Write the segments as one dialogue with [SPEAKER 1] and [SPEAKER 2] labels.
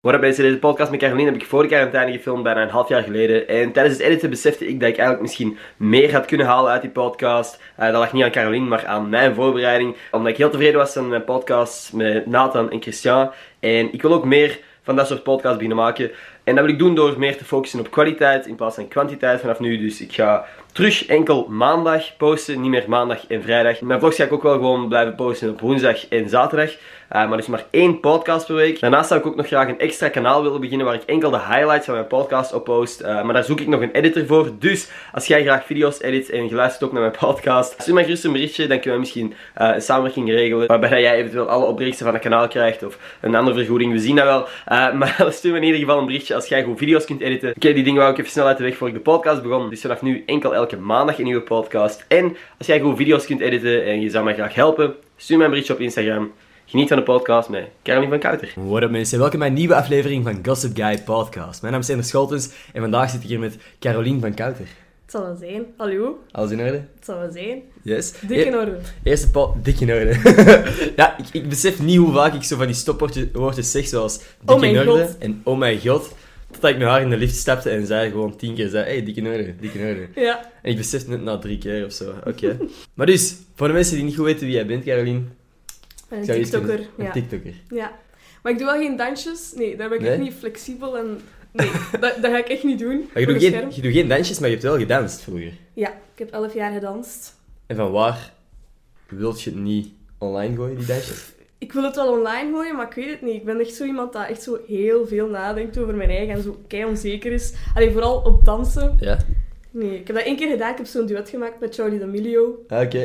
[SPEAKER 1] Wat up mensen, deze podcast met Caroline heb ik voor de quarantaine gefilmd, bijna een half jaar geleden. En tijdens het editen besefte ik dat ik eigenlijk misschien meer had kunnen halen uit die podcast. Eh, dat lag niet aan Caroline, maar aan mijn voorbereiding. Omdat ik heel tevreden was aan mijn podcast met Nathan en Christian. En ik wil ook meer van dat soort podcasts beginnen maken. En dat wil ik doen door meer te focussen op kwaliteit in plaats van kwantiteit vanaf nu. Dus ik ga terug enkel maandag posten, niet meer maandag en vrijdag. Mijn vlogs ga ik ook wel gewoon blijven posten op woensdag en zaterdag. Eh, maar dus maar één podcast per week. Daarnaast zou ik ook nog graag een extra kanaal willen beginnen waar ik enkel de highlights van mijn podcast op post. Eh, maar daar zoek ik nog een editor voor. Dus als jij graag video's edit en je luistert ook naar mijn podcast, stuur mij gerust een berichtje. Dan kunnen we misschien eh, een samenwerking regelen. Waarbij jij eventueel alle opbrengsten van het kanaal krijgt of een andere vergoeding. We zien dat wel. Eh, maar stuur me in ieder geval een berichtje als jij goed video's kunt editen. Oké, die dingen wou ik even snel uit de weg voor ik de podcast begon. Dus vanaf nu enkel elke maandag een nieuwe podcast. En als jij goed video's kunt editen en je zou mij graag helpen, stuur mij een berichtje op Instagram. Geniet van de podcast met Caroline van Kouter.
[SPEAKER 2] What up mensen, welkom bij een nieuwe aflevering van Gossip Guy Podcast. Mijn naam is Ender Scholtens en vandaag zit ik hier met Carolien van Kouter.
[SPEAKER 3] Het zal wel zijn. Hallo,
[SPEAKER 2] Alles in orde?
[SPEAKER 3] het zal wel zijn.
[SPEAKER 2] Yes.
[SPEAKER 3] Dik in
[SPEAKER 2] E-
[SPEAKER 3] orde.
[SPEAKER 2] Eerste po- dik in orde. ja, ik, ik besef niet hoe vaak ik zo van die stopwoordjes zeg, zoals dik
[SPEAKER 3] Oh
[SPEAKER 2] in
[SPEAKER 3] mijn
[SPEAKER 2] orde
[SPEAKER 3] god.
[SPEAKER 2] en oh mijn god. Totdat ik met haar in de lift stapte en zij gewoon tien keer zei, hey, dik in orde, dik in orde.
[SPEAKER 3] Ja.
[SPEAKER 2] En ik besef net na drie keer of zo, oké. maar dus, voor de mensen die niet goed weten wie jij bent, Carolien.
[SPEAKER 3] Een
[SPEAKER 2] zou je eens kunnen-
[SPEAKER 3] TikToker. Ja.
[SPEAKER 2] Een TikToker.
[SPEAKER 3] ja. Maar ik doe wel geen dansjes. Nee, daar ben ik echt
[SPEAKER 2] Nee?
[SPEAKER 3] niet flexibel en... Nee, dat, dat ga ik echt niet doen.
[SPEAKER 2] Maar je
[SPEAKER 3] voor
[SPEAKER 2] doet,
[SPEAKER 3] een
[SPEAKER 2] geen,
[SPEAKER 3] scherm.
[SPEAKER 2] je doet geen dansjes, maar je hebt wel gedanst vroeger.
[SPEAKER 3] Ja, ik heb 11 jaar gedanst.
[SPEAKER 2] En van waar wilt je het niet online gooien, die dansjes?
[SPEAKER 3] Ik wil het wel online gooien, maar ik weet het niet. Ik ben echt zo iemand dat echt zo heel veel nadenkt over mijn eigen en zo kei onzeker is. Alleen vooral op dansen.
[SPEAKER 2] Ja.
[SPEAKER 3] Nee, ik heb dat één keer gedaan. Ik heb zo'n duet gemaakt met Charlie D'Amelio.
[SPEAKER 2] Ah, Oké.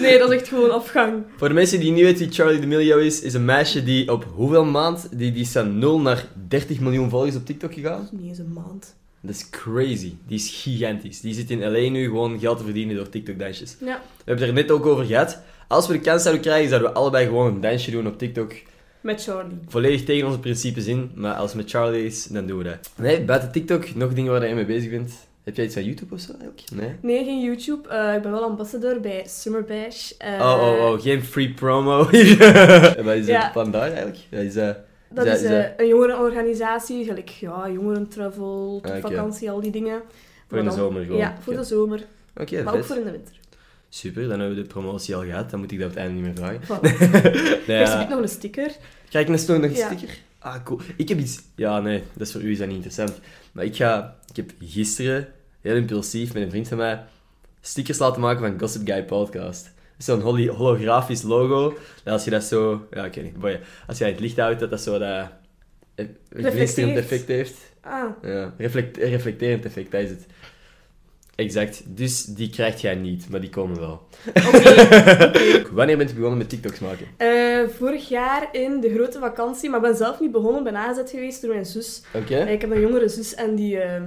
[SPEAKER 3] Nee, dat is echt gewoon afgang.
[SPEAKER 2] Voor de mensen die niet weten wie Charlie D'Amelio is, is een meisje die op hoeveel maand, die, die is van 0 naar 30 miljoen volgers op TikTok gegaan.
[SPEAKER 3] Niet eens een maand.
[SPEAKER 2] Dat is crazy. Die is gigantisch. Die zit in LA nu gewoon geld te verdienen door TikTok dansjes.
[SPEAKER 3] Ja.
[SPEAKER 2] We hebben het er net ook over gehad. Als we de kans zouden krijgen, zouden we allebei gewoon een dansje doen op TikTok.
[SPEAKER 3] Met Charlie.
[SPEAKER 2] Volledig tegen onze principes in, maar als het met Charlie is, dan doen we dat. Nee, buiten TikTok, nog dingen waar je mee bezig bent. Heb jij iets van YouTube of zo ook? Nee?
[SPEAKER 3] Nee, geen YouTube. Eh, ik ben wel ambassadeur bij Summer Bash. Eh,
[SPEAKER 2] Oh, oh, oh, geen free promo. en wat is het
[SPEAKER 3] Ja.
[SPEAKER 2] plan daar eigenlijk? Dat is, eh,
[SPEAKER 3] Dat
[SPEAKER 2] Ja,
[SPEAKER 3] is
[SPEAKER 2] is
[SPEAKER 3] eh,
[SPEAKER 2] dat-
[SPEAKER 3] een jongerenorganisatie, gelijk ja, jongerentravel,
[SPEAKER 2] Ah, oké.
[SPEAKER 3] vakantie, al die dingen.
[SPEAKER 2] Voor in de
[SPEAKER 3] Maar dan-
[SPEAKER 2] zomer gewoon.
[SPEAKER 3] Ja, voor
[SPEAKER 2] Oké.
[SPEAKER 3] de zomer.
[SPEAKER 2] Oké,
[SPEAKER 3] maar ook
[SPEAKER 2] vet.
[SPEAKER 3] voor in de winter.
[SPEAKER 2] Super, dan hebben we de promotie al gehad. Dan moet ik dat op het einde niet meer vragen.
[SPEAKER 3] Voilà.
[SPEAKER 2] Nee,
[SPEAKER 3] Eerst heb
[SPEAKER 2] eh,
[SPEAKER 3] ik nog een sticker.
[SPEAKER 2] Ga ik nog nog een
[SPEAKER 3] Ja.
[SPEAKER 2] sticker? Ah, cool. Ik heb iets... Ja, nee, dat is voor u is dat niet interessant. Maar ik ga... Ik heb gisteren, heel impulsief, met een vriend van mij, stickers laten maken van Gossip Guy Podcast. Zo'n holi- holografisch logo. Dat als je dat zo... Ja, ik weet niet. Boeien. Als je het licht houdt, dat dat zo dat... eh, Reflecterend
[SPEAKER 3] Reflecteert.
[SPEAKER 2] effect heeft.
[SPEAKER 3] Ah,
[SPEAKER 2] Ja, reflect- reflecterend effect, dat is het. Exact. Dus die krijg jij niet, maar die komen wel.
[SPEAKER 3] oké.
[SPEAKER 2] Wanneer bent je begonnen met TikToks maken?
[SPEAKER 3] Eh, vorig jaar in de grote vakantie, maar ik ben zelf niet begonnen. Ik ben aangezet geweest door mijn zus.
[SPEAKER 2] Oké?
[SPEAKER 3] Eh, ik heb een jongere zus en die, eh,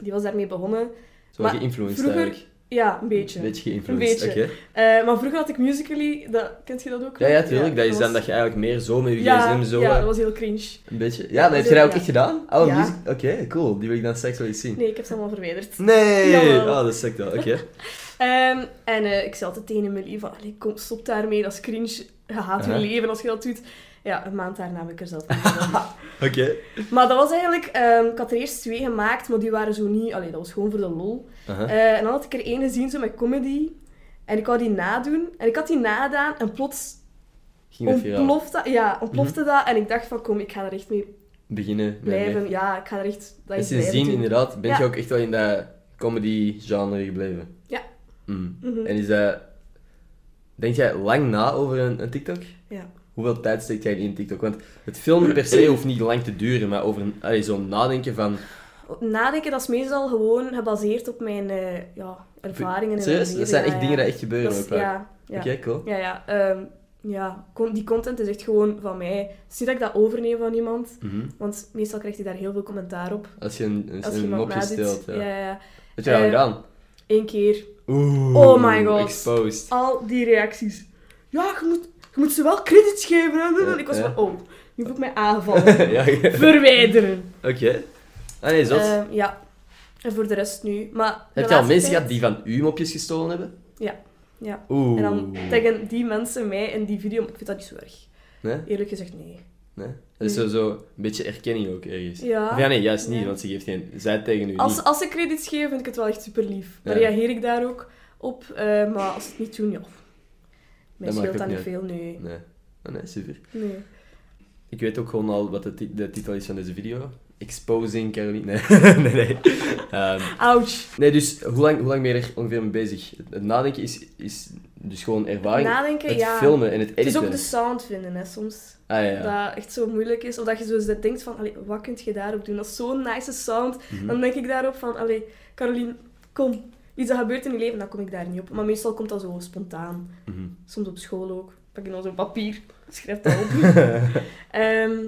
[SPEAKER 3] die was daarmee begonnen.
[SPEAKER 2] Zo
[SPEAKER 3] maar
[SPEAKER 2] geïnfluenced
[SPEAKER 3] vroeger-
[SPEAKER 2] eigenlijk.
[SPEAKER 3] Ja, een beetje.
[SPEAKER 2] Beetje geïnfluenced,
[SPEAKER 3] Een
[SPEAKER 2] oké.
[SPEAKER 3] beetje. Eh, maar vroeger had ik Musical.ly. Dat, kent je dat ook?
[SPEAKER 2] Ja, ja, tuurlijk. dat is
[SPEAKER 3] was-
[SPEAKER 2] dan dat je eigenlijk meer zo met je
[SPEAKER 3] ja,
[SPEAKER 2] gsm zo...
[SPEAKER 3] ja,
[SPEAKER 2] eh,
[SPEAKER 3] dat was heel cringe.
[SPEAKER 2] Een beetje... Ja, dat heb
[SPEAKER 3] was
[SPEAKER 2] je dat
[SPEAKER 3] heel-
[SPEAKER 2] ook
[SPEAKER 3] ja.
[SPEAKER 2] echt gedaan? Oh,
[SPEAKER 3] Ja.
[SPEAKER 2] muziek... Oké, cool. Die wil ik dan straks wel eens zien.
[SPEAKER 3] Nee, ik heb ze allemaal verwijderd.
[SPEAKER 2] Nee!
[SPEAKER 3] Jawel.
[SPEAKER 2] Oh, dat is sick wel. Oké.
[SPEAKER 3] Ehm, en eh, ik zei altijd tegen Emily van, "Allee, kom, stop daarmee, dat is cringe. Je haat
[SPEAKER 2] Aha.
[SPEAKER 3] je leven als je dat doet. Ja, een maand daarna heb ik er zelf aan gedaan.
[SPEAKER 2] Oké.
[SPEAKER 3] Maar dat was eigenlijk... ehm, ik had er eerst twee gemaakt, maar die waren zo niet... Allee, dat was gewoon voor de lol.
[SPEAKER 2] Aha.
[SPEAKER 3] Eh, en dan had ik er één gezien, zo met comedy. En ik wou die nadoen. En ik had die nadaan en plots
[SPEAKER 2] Ging dat viraal.
[SPEAKER 3] ontplofte, ja, ontplofte dat. En ik dacht van, kom, ik ga er echt mee
[SPEAKER 2] Beginnen. met-
[SPEAKER 3] blijven. Ja, ik ga er echt... Dat
[SPEAKER 2] En
[SPEAKER 3] is blijven
[SPEAKER 2] sindsdien,
[SPEAKER 3] doen.
[SPEAKER 2] inderdaad, ben
[SPEAKER 3] Ja.
[SPEAKER 2] je ook echt wel in dat comedy-genre gebleven?
[SPEAKER 3] Ja.
[SPEAKER 2] Mm.
[SPEAKER 3] Mhm.
[SPEAKER 2] En is dat... Denk jij lang na over een, een TikTok?
[SPEAKER 3] Ja.
[SPEAKER 2] Hoeveel tijd steekt jij in een TikTok? Want het filmen per se hoeft niet lang te duren, maar over een, allee, zo'n nadenken van...
[SPEAKER 3] Nadenken, dat is meestal gewoon gebaseerd op mijn eh, ja, ervaringen. in
[SPEAKER 2] Serieus?
[SPEAKER 3] mijn
[SPEAKER 2] Dat
[SPEAKER 3] leven,
[SPEAKER 2] zijn
[SPEAKER 3] ja,
[SPEAKER 2] echt
[SPEAKER 3] ja.
[SPEAKER 2] dingen die echt gebeuren
[SPEAKER 3] Dat is-
[SPEAKER 2] ook vaak.
[SPEAKER 3] ja, ja.
[SPEAKER 2] Oké, cool.
[SPEAKER 3] ja, ja. ehm, ja, con- die content is echt gewoon van mij. Het is niet dat ik dat overneem van iemand,
[SPEAKER 2] Mhm.
[SPEAKER 3] want meestal krijgt hij daar heel veel commentaar op.
[SPEAKER 2] Als je een, een,
[SPEAKER 3] Als
[SPEAKER 2] een
[SPEAKER 3] iemand
[SPEAKER 2] mopje
[SPEAKER 3] nadoet.
[SPEAKER 2] stelt. Ja.
[SPEAKER 3] Ja, ja, ja.
[SPEAKER 2] Heb je dat al
[SPEAKER 3] Eh,
[SPEAKER 2] gedaan?
[SPEAKER 3] Eén keer.
[SPEAKER 2] Oeh,
[SPEAKER 3] oh my god.
[SPEAKER 2] Exposed.
[SPEAKER 3] Al die reacties. Ja, je moet, je moet ze wel credits geven.
[SPEAKER 2] Ja,
[SPEAKER 3] ik was
[SPEAKER 2] ja.
[SPEAKER 3] van, oh, nu voel ik mij aangevallen.
[SPEAKER 2] ja, oké.
[SPEAKER 3] Verwijderen.
[SPEAKER 2] Ah nee, zot.
[SPEAKER 3] Ehm, ja. En voor de rest nu. Maar de
[SPEAKER 2] Heb je al
[SPEAKER 3] laatste
[SPEAKER 2] mensen
[SPEAKER 3] tijd-
[SPEAKER 2] gehad die van u mopjes gestolen hebben?
[SPEAKER 3] Ja. Ja.
[SPEAKER 2] Oeh.
[SPEAKER 3] En dan taggen die mensen mij in die video, maar ik vind dat niet zo erg.
[SPEAKER 2] Nee?
[SPEAKER 3] Eerlijk gezegd, nee.
[SPEAKER 2] Nee? Dat is zo,
[SPEAKER 3] Nee.
[SPEAKER 2] zo een beetje erkenning ook ergens.
[SPEAKER 3] Ja.
[SPEAKER 2] Of ja, nee, juist niet,
[SPEAKER 3] Ja.
[SPEAKER 2] want ze geeft geen... Zij tegen u
[SPEAKER 3] Als,
[SPEAKER 2] niet.
[SPEAKER 3] als ze credits geven, vind ik het wel echt super lief. Dan
[SPEAKER 2] Ja.
[SPEAKER 3] reageer ik daar ook op. eh, maar als ze het niet doen, ja. Mij
[SPEAKER 2] maakt ook
[SPEAKER 3] scheelt dat
[SPEAKER 2] niet
[SPEAKER 3] niet veel, nee.
[SPEAKER 2] Nee. Ah, nee, super.
[SPEAKER 3] nee.
[SPEAKER 2] Ik weet ook gewoon al wat de, ti- de titel is van deze video. Exposing Caroline. Nee, nee, nee. Ehm,
[SPEAKER 3] Ouch.
[SPEAKER 2] nee, dus hoe lang, hoe lang ben je er ongeveer mee bezig? Het, het nadenken is, is dus gewoon ervaring.
[SPEAKER 3] Nadenken,
[SPEAKER 2] het
[SPEAKER 3] ja.
[SPEAKER 2] filmen en het
[SPEAKER 3] Het
[SPEAKER 2] editen.
[SPEAKER 3] is ook de sound vinden, hè, soms.
[SPEAKER 2] Ah, ja, ja.
[SPEAKER 3] Dat echt zo moeilijk is. Of dat je zo eens denkt van, allee, wat kun je daarop doen? Dat is zo'n nice sound.
[SPEAKER 2] Mhm.
[SPEAKER 3] Dan denk ik daarop van, allee, Caroline, kom. Iets dat gebeurt in je leven, dan kom ik daar niet op. Maar meestal komt dat zo spontaan.
[SPEAKER 2] Mhm.
[SPEAKER 3] Soms op school ook. Pak je dan zo'n papier, schrijf dat op. Ehm,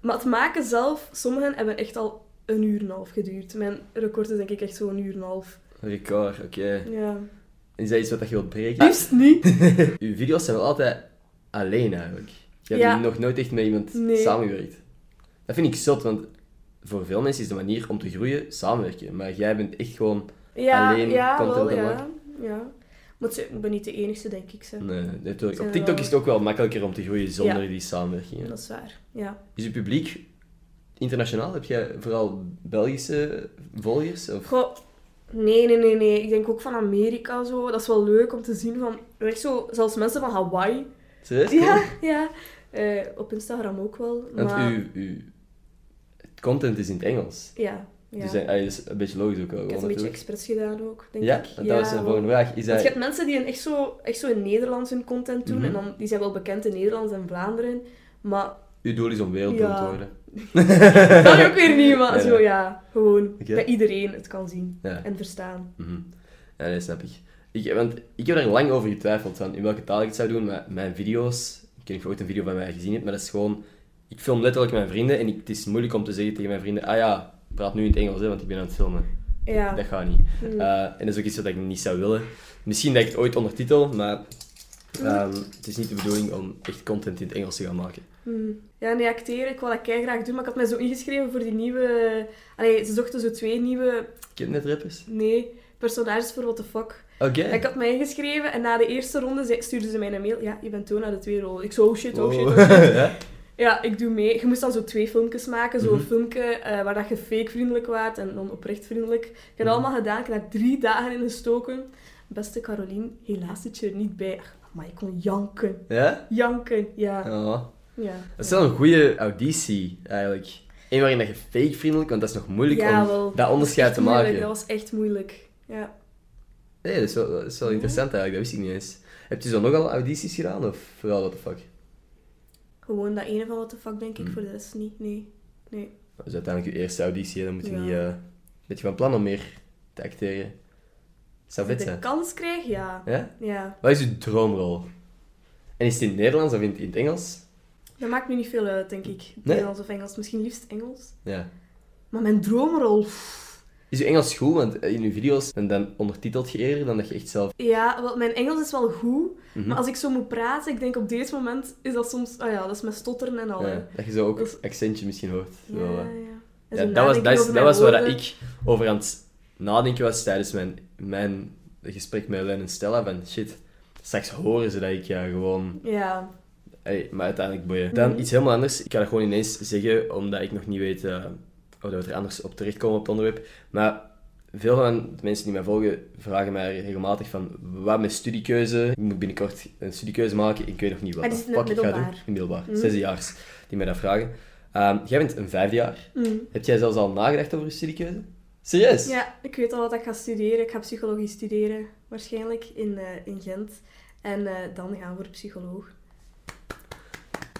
[SPEAKER 3] maar het maken zelf, sommigen hebben echt al een uur en een half geduurd. Mijn record is denk ik echt zo'n uur en een half.
[SPEAKER 2] Record, oké.
[SPEAKER 3] Ja.
[SPEAKER 2] Is dat iets wat je wilt breken?
[SPEAKER 3] Liefst niet.
[SPEAKER 2] Uw video's zijn wel altijd alleen eigenlijk. Je hebt
[SPEAKER 3] Ja.
[SPEAKER 2] nog nooit echt met iemand
[SPEAKER 3] Nee.
[SPEAKER 2] samengewerkt. Dat vind ik zot, want voor veel mensen is de manier om te groeien samenwerken. Maar jij bent echt gewoon.
[SPEAKER 3] Ja,
[SPEAKER 2] Alleen
[SPEAKER 3] ja,
[SPEAKER 2] content
[SPEAKER 3] wel,
[SPEAKER 2] te
[SPEAKER 3] ja.
[SPEAKER 2] maken.
[SPEAKER 3] ja. Maar het- ik ben niet de enigste, denk ik. Ze.
[SPEAKER 2] Nee, dat hoor ik. Op
[SPEAKER 3] Zijn
[SPEAKER 2] TikTok
[SPEAKER 3] wel-
[SPEAKER 2] is het ook wel makkelijker om te groeien zonder die samenwerking.
[SPEAKER 3] Dat is waar, ja.
[SPEAKER 2] Is je publiek internationaal? Heb jij vooral Belgische volgers? Of...
[SPEAKER 3] Goh, nee, nee, nee, nee. Ik denk ook van Amerika zo. Dat is wel leuk om te zien van... Echt zo, zelfs mensen van Hawaii.
[SPEAKER 2] Serieus?
[SPEAKER 3] Ja, ja. Eh, op Instagram ook wel.
[SPEAKER 2] Want
[SPEAKER 3] Maar...
[SPEAKER 2] uw, uw het content is in het Engels.
[SPEAKER 3] Ja, ja.
[SPEAKER 2] Dus dat is een beetje logisch ook wel.
[SPEAKER 3] ik heb het een
[SPEAKER 2] natuurlijk.
[SPEAKER 3] beetje expres gedaan ook, denk
[SPEAKER 2] ja,
[SPEAKER 3] ik.
[SPEAKER 2] dat was de
[SPEAKER 3] wel.
[SPEAKER 2] volgende vraag. Is
[SPEAKER 3] Want
[SPEAKER 2] dat...
[SPEAKER 3] je hebt mensen die een echt, zo, echt zo in Nederlands hun content doen.
[SPEAKER 2] Mhm.
[SPEAKER 3] En dan, die zijn wel bekend in Nederland en Vlaanderen. Maar
[SPEAKER 2] Uw doel is om wereldberoemd
[SPEAKER 3] Ja.
[SPEAKER 2] te worden.
[SPEAKER 3] dat ook weer niet. Maar
[SPEAKER 2] Nee,
[SPEAKER 3] zo
[SPEAKER 2] nee.
[SPEAKER 3] ja, gewoon.
[SPEAKER 2] Oké.
[SPEAKER 3] Dat iedereen het kan zien
[SPEAKER 2] Ja.
[SPEAKER 3] en verstaan.
[SPEAKER 2] Mhm. Ja, dat snap ik. ik. Want ik heb er lang over getwijfeld van in welke taal ik het zou doen, maar mijn video's... Ik weet niet of je ooit een video van mij gezien hebt, maar dat is gewoon... Ik film letterlijk mijn vrienden en ik- het is moeilijk om te zeggen tegen mijn vrienden... Ah ja, praat nu in het Engels, hè, want ik ben aan het filmen.
[SPEAKER 3] Ja.
[SPEAKER 2] Dat gaat niet.
[SPEAKER 3] Mm.
[SPEAKER 2] Eh, en dat is ook iets wat ik niet zou willen. Misschien dat ik het ooit ondertitel, maar... ehm, het is niet de bedoeling om echt content in het Engels te gaan maken.
[SPEAKER 3] Hmm. Ja, nee, acteren. Ik wou dat kei graag doen, maar ik had mij zo ingeschreven voor die nieuwe... Allee, ze zochten zo twee nieuwe...
[SPEAKER 2] Kinderrappers?
[SPEAKER 3] Nee, personages voor What the Fuck.
[SPEAKER 2] Oké.
[SPEAKER 3] En Ik had mij ingeschreven en na de eerste ronde zei- stuurden ze mij een mail. Ja, je bent toen naar de tweede rol. Ik zo, oh shit, oh shit, oh shit.
[SPEAKER 2] ja?
[SPEAKER 3] Ja, ik doe mee. Je moest dan zo twee filmpjes maken. Zo'n
[SPEAKER 2] Mhm.
[SPEAKER 3] filmpje eh, waar dat je fake vriendelijk waart en dan oprecht vriendelijk. Ik
[SPEAKER 2] Mhm.
[SPEAKER 3] heb dat allemaal gedaan. Ik heb daar drie dagen in gestoken. Beste Caroline, helaas zit je er niet bij. Maar ik kon janken.
[SPEAKER 2] Ja?
[SPEAKER 3] Janken, ja.
[SPEAKER 2] Oh.
[SPEAKER 3] ja.
[SPEAKER 2] Dat is wel een goede auditie, eigenlijk. Eén waarin dat je fake vriendelijk, want dat is nog moeilijk
[SPEAKER 3] Ja,
[SPEAKER 2] om
[SPEAKER 3] wel.
[SPEAKER 2] dat onderscheid te maken.
[SPEAKER 3] Moeilijk, dat was echt moeilijk. Ja.
[SPEAKER 2] Nee, dat is wel, dat is wel interessant eigenlijk, dat wist ik niet eens. Heb je zo nogal audities gedaan, of vooral what the fuck?
[SPEAKER 3] Gewoon dat ene van wat de fuck
[SPEAKER 2] Mhm.
[SPEAKER 3] denk ik, voor de rest niet. Nee. Nee.
[SPEAKER 2] Dat is uiteindelijk je eerste auditie, hè, dan moet je
[SPEAKER 3] Ja.
[SPEAKER 2] niet... eh ben je van plan om meer te acteren? Zou
[SPEAKER 3] Als ik
[SPEAKER 2] vet
[SPEAKER 3] de
[SPEAKER 2] zijn.
[SPEAKER 3] kans krijg, ja.
[SPEAKER 2] Ja?
[SPEAKER 3] Ja.
[SPEAKER 2] Wat is je droomrol? En is het in het Nederlands of in het, in het Engels?
[SPEAKER 3] Dat maakt me niet veel uit, denk ik. Nederlands of Engels. Misschien liefst Engels.
[SPEAKER 2] Ja.
[SPEAKER 3] Maar mijn droomrol... pff.
[SPEAKER 2] Is je Engels goed? Want eh, in je video's, dan, dan ondertitelt je eerder dan dat je echt zelf...
[SPEAKER 3] Ja, wel, mijn Engels is wel goed,
[SPEAKER 2] Mhm.
[SPEAKER 3] maar als ik zo moet praten, ik denk op dit moment is dat soms, ah ja, dat is met stotteren en al. hè.
[SPEAKER 2] Ja, dat je zo ook
[SPEAKER 3] Dat is-
[SPEAKER 2] het accentje misschien hoort.
[SPEAKER 3] Ja,
[SPEAKER 2] Wel, eh.
[SPEAKER 3] ja. En
[SPEAKER 2] Ja,
[SPEAKER 3] zo
[SPEAKER 2] dat was,
[SPEAKER 3] nadenken
[SPEAKER 2] dat is,
[SPEAKER 3] over
[SPEAKER 2] dat
[SPEAKER 3] mijn
[SPEAKER 2] was waar dat
[SPEAKER 3] woorden.
[SPEAKER 2] ik over aan het nadenken was tijdens mijn, mijn gesprek met Len en Stella. Van shit, straks horen ze dat ik ja, gewoon.
[SPEAKER 3] Ja,
[SPEAKER 2] Hey, maar uiteindelijk boeien.
[SPEAKER 3] Mhm.
[SPEAKER 2] Dan iets helemaal anders. Ik ga dat gewoon ineens zeggen, omdat ik nog niet weet eh, of dat we er anders op terechtkomen op het onderwerp. Maar veel van de mensen die mij volgen vragen mij regelmatig van wat mijn studiekeuze. Ik moet binnenkort een studiekeuze maken. Ik weet nog niet wat
[SPEAKER 3] Ah, die
[SPEAKER 2] de
[SPEAKER 3] zit in het
[SPEAKER 2] fuck ik ga doen.
[SPEAKER 3] middelbaar. Mhm.
[SPEAKER 2] In middelbaar. Zesdejaars die mij dat vragen. Ehm, jij bent een vijfdejaar.
[SPEAKER 3] Mhm.
[SPEAKER 2] Heb jij zelfs al nagedacht over je studiekeuze? Serieus?
[SPEAKER 3] ja, ik weet al wat ik ga studeren. Ik ga psychologie studeren, waarschijnlijk in, eh, in Gent. En eh, dan gaan we voor psycholoog.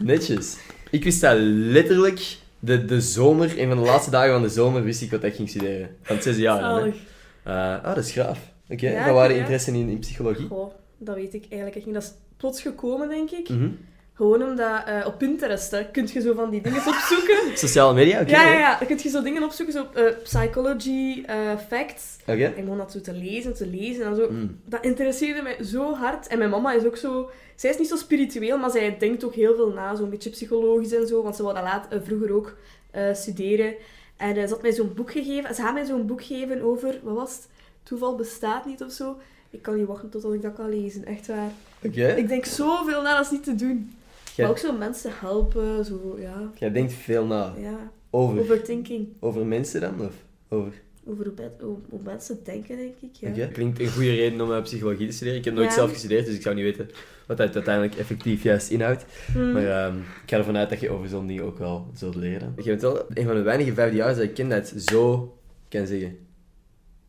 [SPEAKER 2] Netjes. Ik wist dat letterlijk de, de zomer, een van de laatste dagen van de zomer, wist ik wat ik ging studeren. Van het zesde jaar. dan, hè.
[SPEAKER 3] Zalig.
[SPEAKER 2] Eh, ah, dat is graaf. Oké,
[SPEAKER 3] Ja,
[SPEAKER 2] dat waren
[SPEAKER 3] ja.
[SPEAKER 2] interesse in, in psychologie.
[SPEAKER 3] Goh, dat weet ik eigenlijk echt niet. Dat is plots gekomen, denk ik.
[SPEAKER 2] Mhm.
[SPEAKER 3] Gewoon omdat eh, op Pinterest hè, kun je zo van die dingen opzoeken.
[SPEAKER 2] Sociale media, oké.
[SPEAKER 3] Ja, ja, ja. Dan kun je zo dingen opzoeken, zo eh, psychology, eh, facts.
[SPEAKER 2] Oké.
[SPEAKER 3] En gewoon dat zo te lezen, te lezen en zo.
[SPEAKER 2] Mm.
[SPEAKER 3] Dat interesseerde mij zo hard. En mijn mama is ook zo... Zij is niet zo spiritueel, maar zij denkt ook heel veel na. Zo'n beetje psychologisch en zo. Want ze wou dat laat, eh, vroeger ook eh, studeren. En eh, ze had mij zo'n boek gegeven. Ze had mij zo'n boek gegeven over... Wat was het? Toeval bestaat niet of zo. Ik kan niet wachten totdat ik dat kan lezen. Echt waar.
[SPEAKER 2] Oké.
[SPEAKER 3] Ik denk zoveel na, dat is niet te doen. Maar
[SPEAKER 2] Jij,
[SPEAKER 3] ook zo mensen helpen, zo, ja.
[SPEAKER 2] jij denkt veel na
[SPEAKER 3] ja.
[SPEAKER 2] over,
[SPEAKER 3] Overthinking.
[SPEAKER 2] over mensen dan? Of over...
[SPEAKER 3] Over hoe, ben- hoe- hoe mensen denken, denk ik. Ja.
[SPEAKER 2] Oké. Klinkt een goede reden om eh, psychologie te studeren. Ik heb nooit
[SPEAKER 3] Ja.
[SPEAKER 2] zelf gestudeerd, dus ik zou niet weten wat dat uiteindelijk effectief juist inhoudt.
[SPEAKER 3] Hmm.
[SPEAKER 2] Maar ehm, ik ga ervan uit dat je over zo'n ding ook wel zult leren. Je bent wel een van de weinige vijfdejaars dat ik ken dat zo kan zeggen.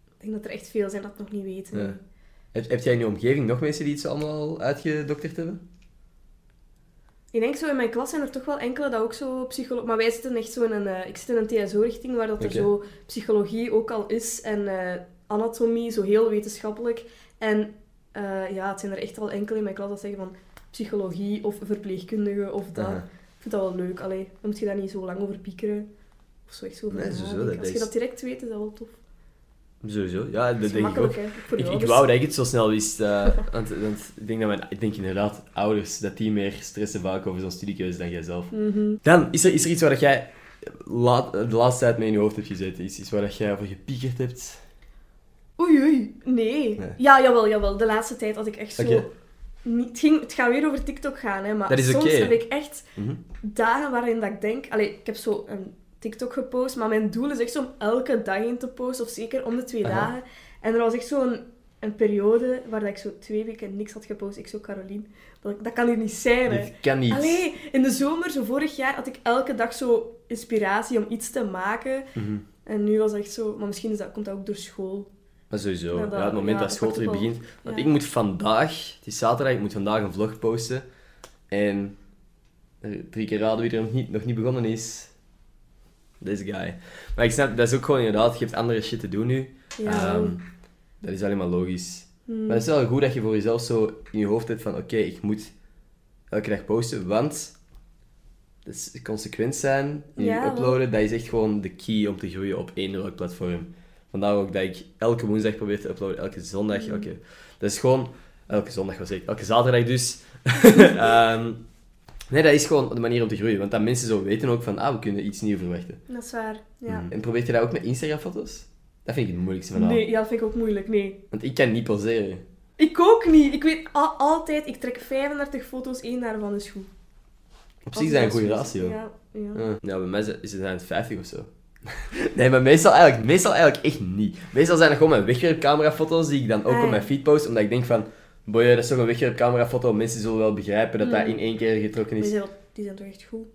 [SPEAKER 3] Ik denk dat er echt veel zijn dat nog niet weten.
[SPEAKER 2] Ja. Heb, heb jij in je omgeving nog mensen die iets allemaal uitgedokterd hebben?
[SPEAKER 3] Ik denk zo in mijn klas zijn er toch wel enkele dat ook zo psycholoog. Maar wij zitten echt zo in een. eh, ik zit in een TSO-richting waar dat er
[SPEAKER 2] Oké.
[SPEAKER 3] zo psychologie ook al is en eh, anatomie, zo heel wetenschappelijk. En eh, ja, het zijn er echt al enkele in mijn klas dat zeggen van psychologie of verpleegkundige of dat.
[SPEAKER 2] Aha.
[SPEAKER 3] Ik vind dat wel leuk. Allee, dan moet je daar niet zo lang over piekeren. Of zo echt zo over
[SPEAKER 2] Nee, sowieso,
[SPEAKER 3] nadenken.
[SPEAKER 2] dat
[SPEAKER 3] Als je
[SPEAKER 2] is-
[SPEAKER 3] dat direct weet, is dat wel tof.
[SPEAKER 2] Sowieso, ja, dat
[SPEAKER 3] Dat is
[SPEAKER 2] denk ik ook.
[SPEAKER 3] gemakkelijk, hè? Voor
[SPEAKER 2] Ik,
[SPEAKER 3] jou,
[SPEAKER 2] ik
[SPEAKER 3] dus-
[SPEAKER 2] wou dat ik het zo snel wist. eh, want, want ik denk dat mijn, ik denk inderdaad ouders dat die meer stressen vaak over zo'n studiekeuze dan jijzelf.
[SPEAKER 3] Mhm.
[SPEAKER 2] Dan is er, is er iets waar dat jij laat, de laatste tijd mee in je hoofd hebt gezeten. Iets, iets waar dat jij over gepiekerd hebt.
[SPEAKER 3] Oei, oei. Nee.
[SPEAKER 2] Nee.
[SPEAKER 3] Ja, jawel, jawel. De laatste tijd had ik echt zo...
[SPEAKER 2] Oké.
[SPEAKER 3] Niet, het, ging, het gaat weer over TikTok gaan, hè. Maar
[SPEAKER 2] Dat is
[SPEAKER 3] soms
[SPEAKER 2] oké.
[SPEAKER 3] heb ik echt
[SPEAKER 2] Mhm.
[SPEAKER 3] dagen waarin dat ik denk... Allee, ik heb zo een TikTok gepost, maar mijn doel is echt zo om elke dag in te posten. Of zeker om de twee
[SPEAKER 2] Aha.
[SPEAKER 3] dagen. En er was echt zo'n een periode waar dat ik zo twee weken niks had gepost. Ik zo, Caroline, dat, dat kan hier niet zijn, hè.
[SPEAKER 2] Dit kan niet.
[SPEAKER 3] Allee, in de zomer, zo vorig jaar, had ik elke dag zo inspiratie om iets te maken.
[SPEAKER 2] Mhm.
[SPEAKER 3] En nu was dat echt zo... Maar misschien is dat, komt dat ook door school.
[SPEAKER 2] Maar sowieso,
[SPEAKER 3] Ja,
[SPEAKER 2] ja,
[SPEAKER 3] dat-
[SPEAKER 2] het moment
[SPEAKER 3] ja,
[SPEAKER 2] dat
[SPEAKER 3] dat
[SPEAKER 2] school
[SPEAKER 3] pakt
[SPEAKER 2] terug
[SPEAKER 3] ook wel.
[SPEAKER 2] begint. Want
[SPEAKER 3] Ja.
[SPEAKER 2] ik moet vandaag, het is zaterdag, ik moet vandaag een vlog posten. En eh, drie keer raden wie er nog niet, nog niet begonnen is. This guy. Maar ik snap, dat is ook gewoon inderdaad, je hebt andere shit te doen nu.
[SPEAKER 3] Ja.
[SPEAKER 2] Ehm, dat is alleen maar logisch.
[SPEAKER 3] Hmm.
[SPEAKER 2] Maar het is wel goed dat je voor jezelf zo in je hoofd hebt van oké, ik moet elke dag posten, want dat is consequent zijn in je
[SPEAKER 3] Ja, wel.
[SPEAKER 2] uploaden, dat is echt gewoon de key om te groeien op één welk platform. Vandaar ook dat ik elke woensdag probeer te uploaden, elke zondag,
[SPEAKER 3] Mm.
[SPEAKER 2] elke... Dat is gewoon... Elke zondag was ik, elke zaterdag dus. Ehm, nee, dat is gewoon de manier om te groeien, want dat mensen zo weten ook van ah, we kunnen iets nieuws verwachten.
[SPEAKER 3] Dat is waar, ja.
[SPEAKER 2] En probeer je dat ook met Instagram-foto's? Dat vind ik het moeilijkste van al.
[SPEAKER 3] Nee, ja, dat vind ik ook moeilijk, nee.
[SPEAKER 2] Want ik kan niet poseren.
[SPEAKER 3] Ik ook niet. Ik weet al- altijd, ik trek 35 foto's, één daarvan is goed.
[SPEAKER 2] Op
[SPEAKER 3] Als
[SPEAKER 2] zich is dat een
[SPEAKER 3] dat
[SPEAKER 2] goede
[SPEAKER 3] zo is-
[SPEAKER 2] ratio.
[SPEAKER 3] Ja, ja.
[SPEAKER 2] Ja, bij mij zijn- is het aan het 50 of zo. Nee, maar meestal eigenlijk, meestal eigenlijk echt niet. Meestal zijn het gewoon mijn wegwerpcamerafoto's die ik dan ook
[SPEAKER 3] Ah,
[SPEAKER 2] op
[SPEAKER 3] ja.
[SPEAKER 2] mijn feed post, omdat ik denk van, boy, dat is toch een wegwerpcamerafoto, mensen zullen wel begrijpen dat dat
[SPEAKER 3] Mm.
[SPEAKER 2] in één keer getrokken
[SPEAKER 3] Die,
[SPEAKER 2] is.
[SPEAKER 3] zijn, wel- die zijn toch echt goed.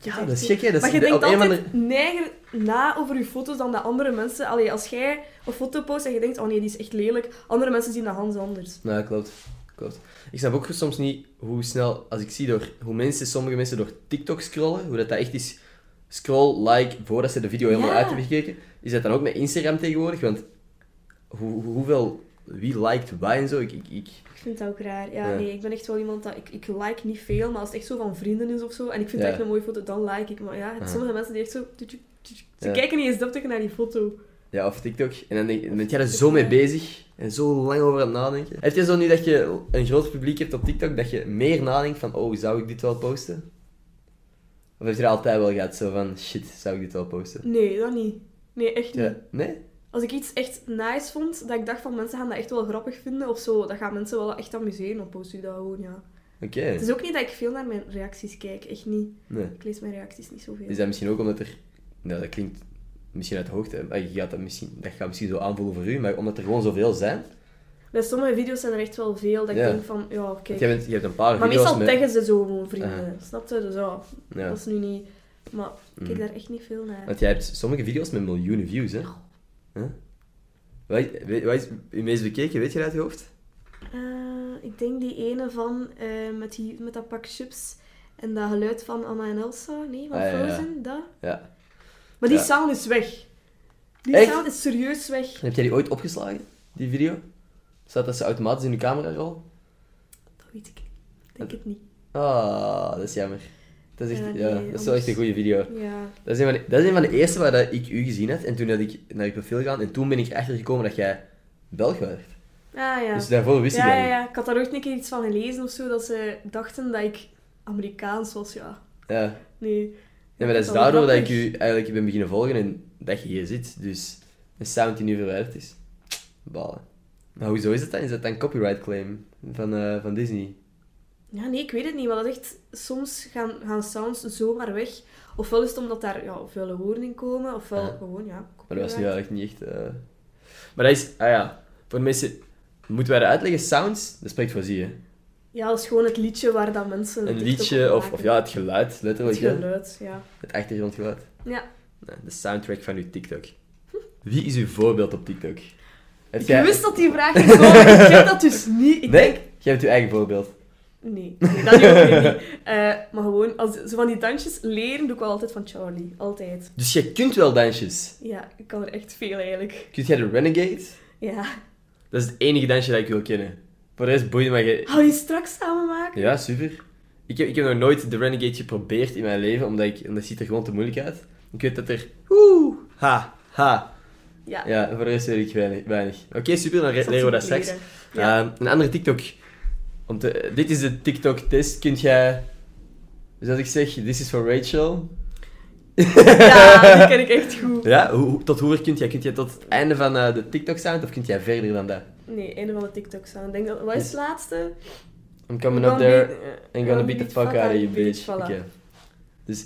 [SPEAKER 2] Ja,
[SPEAKER 3] echt
[SPEAKER 2] dat is
[SPEAKER 3] goed.
[SPEAKER 2] gek, hè? Dat
[SPEAKER 3] maar
[SPEAKER 2] is
[SPEAKER 3] je
[SPEAKER 2] de-
[SPEAKER 3] denkt
[SPEAKER 2] op een of
[SPEAKER 3] altijd neiger na over je foto's dan dat andere mensen... Allee, als jij een foto post en je denkt, oh nee, die is echt lelijk. Andere mensen zien dat Hans anders.
[SPEAKER 2] Nou, klopt. klopt. Ik snap ook soms niet hoe snel, als ik zie door, hoe mensen, sommige mensen door TikTok scrollen, hoe dat, dat echt is scroll, like, voordat ze de video helemaal
[SPEAKER 3] Ja.
[SPEAKER 2] uit hebben gekeken. Is dat dan ook met Instagram tegenwoordig? Want hoe, hoe- hoeveel, wie liked waar en zo, ik... ik, ik
[SPEAKER 3] Ik vind dat ook raar. Ja,
[SPEAKER 2] Ja.
[SPEAKER 3] nee, ik ben echt wel iemand dat... Ik, ik like niet veel, maar als het echt zo van vrienden is of zo... En ik
[SPEAKER 2] Ja.
[SPEAKER 3] vind dat echt een mooie foto, dan like ik. Maar ja,
[SPEAKER 2] Aha.
[SPEAKER 3] sommige mensen die echt zo... tut, tut, tut, Ze
[SPEAKER 2] Ja.
[SPEAKER 3] kijken niet eens deftig naar die foto.
[SPEAKER 2] Ja, of TikTok. En dan denk, ben jij er zo mee bezig en zo lang over aan het nadenken. Heb je zo nu dat je een groot publiek hebt op TikTok, dat je meer nadenkt van, oh, zou ik dit wel posten? Of heb je er altijd wel gehad, zo van, shit, zou ik dit wel posten?
[SPEAKER 3] Nee, dat niet. Nee, echt niet.
[SPEAKER 2] Ja. Nee?
[SPEAKER 3] Als ik iets echt nice vond, dat ik dacht van mensen gaan dat echt wel grappig vinden of zo, dat gaan mensen wel echt amuseren, dan post ik dat gewoon, ja.
[SPEAKER 2] Oké.
[SPEAKER 3] Het is ook niet dat ik veel naar mijn reacties kijk, echt niet.
[SPEAKER 2] Nee.
[SPEAKER 3] Ik lees mijn reacties niet zoveel.
[SPEAKER 2] Is dat misschien ook omdat er... Nou, dat klinkt misschien uit de hoogte. maar Je gaat dat, misschien, dat gaat misschien zo aanvoelen voor u, maar omdat er gewoon zoveel zijn.
[SPEAKER 3] Bij sommige video's zijn er echt wel veel dat ik
[SPEAKER 2] Ja.
[SPEAKER 3] denk van, ja, kijk.
[SPEAKER 2] Want jij bent, je hebt een paar
[SPEAKER 3] Maar
[SPEAKER 2] video's
[SPEAKER 3] meestal
[SPEAKER 2] met... Ah.
[SPEAKER 3] taggen ze zo gewoon vrienden, snap je? Dus ja,
[SPEAKER 2] Ja.
[SPEAKER 3] dat is nu niet... Maar ik kijk
[SPEAKER 2] Mhm.
[SPEAKER 3] daar echt niet veel naar.
[SPEAKER 2] Want jij hebt sommige video's met miljoenen views, hè? Huh? Wat, weet- wat is je meest bekeken? Weet je dat uit je hoofd?
[SPEAKER 3] Eh, ik denk die ene van, eh, met, die, met dat pak chips en dat geluid van Anna en Elsa, nee, van
[SPEAKER 2] Ah, ja, ja.
[SPEAKER 3] Frozen, dat.
[SPEAKER 2] Ja.
[SPEAKER 3] Maar die
[SPEAKER 2] Ja.
[SPEAKER 3] sound is weg. Die
[SPEAKER 2] Echt?
[SPEAKER 3] sound is serieus weg.
[SPEAKER 2] Heb jij die ooit opgeslagen, die video? Staat dat ze automatisch in de camera rol?
[SPEAKER 3] Dat weet ik. Ik denk het niet.
[SPEAKER 2] Ah, dat is jammer. Dat is echt,
[SPEAKER 3] Ja,
[SPEAKER 2] ja,
[SPEAKER 3] nee,
[SPEAKER 2] dat is wel
[SPEAKER 3] anders-
[SPEAKER 2] echt een goede video.
[SPEAKER 3] Ja.
[SPEAKER 2] Dat is, een van de, dat is een van de eerste waar dat ik u gezien had. En toen had ik naar je profiel gegaan. En toen ben ik erachter gekomen dat jij Belg werd.
[SPEAKER 3] Ah ja.
[SPEAKER 2] Dus daarvoor wist
[SPEAKER 3] ja,
[SPEAKER 2] ik dat
[SPEAKER 3] ja,
[SPEAKER 2] niet.
[SPEAKER 3] ja. Ik had daar ooit een keer iets van gelezen of zo, dat ze dachten dat ik Amerikaans was. Ja,
[SPEAKER 2] Ja.
[SPEAKER 3] nee.
[SPEAKER 2] Nee, maar dat is
[SPEAKER 3] Dat is wel
[SPEAKER 2] daardoor dat ik
[SPEAKER 3] grappig.
[SPEAKER 2] u eigenlijk ben beginnen volgen en dat je hier zit. Dus een sound die nu verwijderd is. Balen. Maar hoezo is dat dan? Is dat dan copyright claim van, eh, van Disney?
[SPEAKER 3] Ja, nee, ik weet het niet. Want dat is echt, soms gaan, gaan sounds zomaar weg. Ofwel is het omdat daar ja, vuile woorden in komen, ofwel
[SPEAKER 2] Ja.
[SPEAKER 3] gewoon, ja.
[SPEAKER 2] Maar dat was nu
[SPEAKER 3] copyright.
[SPEAKER 2] eigenlijk niet echt... eh. Maar dat is... Ah ja, voor mensen... Moeten wij dat uitleggen? Sounds, dat spreekt voor zich, hè.
[SPEAKER 3] Ja, dat is gewoon het liedje waar dat mensen...
[SPEAKER 2] Een
[SPEAKER 3] TikTok
[SPEAKER 2] liedje
[SPEAKER 3] op
[SPEAKER 2] of, of
[SPEAKER 3] maken.
[SPEAKER 2] ja, het geluid,
[SPEAKER 3] Het
[SPEAKER 2] letterlijk. hè.
[SPEAKER 3] geluid, ja.
[SPEAKER 2] Het achtergrondgeluid.
[SPEAKER 3] Ja.
[SPEAKER 2] Nee, De soundtrack van uw TikTok. Wie is uw voorbeeld op TikTok? Heb
[SPEAKER 3] Ik
[SPEAKER 2] jij-
[SPEAKER 3] wist dat die vraag ging komen. ik heb dat dus niet. Ik
[SPEAKER 2] Nee?
[SPEAKER 3] denk...
[SPEAKER 2] Jij hebt uw eigen voorbeeld.
[SPEAKER 3] Nee, nee, dat doe ik niet. Eh, maar gewoon, als zo van die dansjes leren, doe ik wel altijd van Charlie. Altijd.
[SPEAKER 2] Dus jij kunt wel dansjes.
[SPEAKER 3] Ja, ik kan er echt veel eigenlijk.
[SPEAKER 2] Kunt jij de Renegade?
[SPEAKER 3] Ja.
[SPEAKER 2] Dat is het enige dansje dat ik wil kennen. Voor de rest boeide mij... ge-
[SPEAKER 3] Hou je straks samen maken?
[SPEAKER 2] Ja, super. Ik heb, ik heb nog nooit de Renegade geprobeerd in mijn leven, omdat ik... en Dat ziet er gewoon te moeilijk uit. Ik weet dat er... Oeh! Ha! Ha!
[SPEAKER 3] Ja.
[SPEAKER 2] Ja, voor de rest weet ik weinig. weinig. Oké, super. Dan re-
[SPEAKER 3] Ik zal
[SPEAKER 2] leren we dat
[SPEAKER 3] het
[SPEAKER 2] straks.
[SPEAKER 3] leren. Ja.
[SPEAKER 2] Ehm, een andere TikTok. Om te, dit is de TikTok-test. Kunt jij... Dus als ik zeg, this is for Rachel.
[SPEAKER 3] ja, die ken ik echt goed.
[SPEAKER 2] Ja, hoe- hoe- tot hoe ver kunt jij? Kunt jij tot het einde van eh, de TikTok-sound of kunt jij verder dan dat?
[SPEAKER 3] Nee, een van de TikToks aan. Ik Denk dat, wat is het laatste?
[SPEAKER 2] I'm coming
[SPEAKER 3] I'm
[SPEAKER 2] up there
[SPEAKER 3] eh,
[SPEAKER 2] and gonna beat the fuck out of you, bitch.
[SPEAKER 3] Voilà.
[SPEAKER 2] Oké. Dus,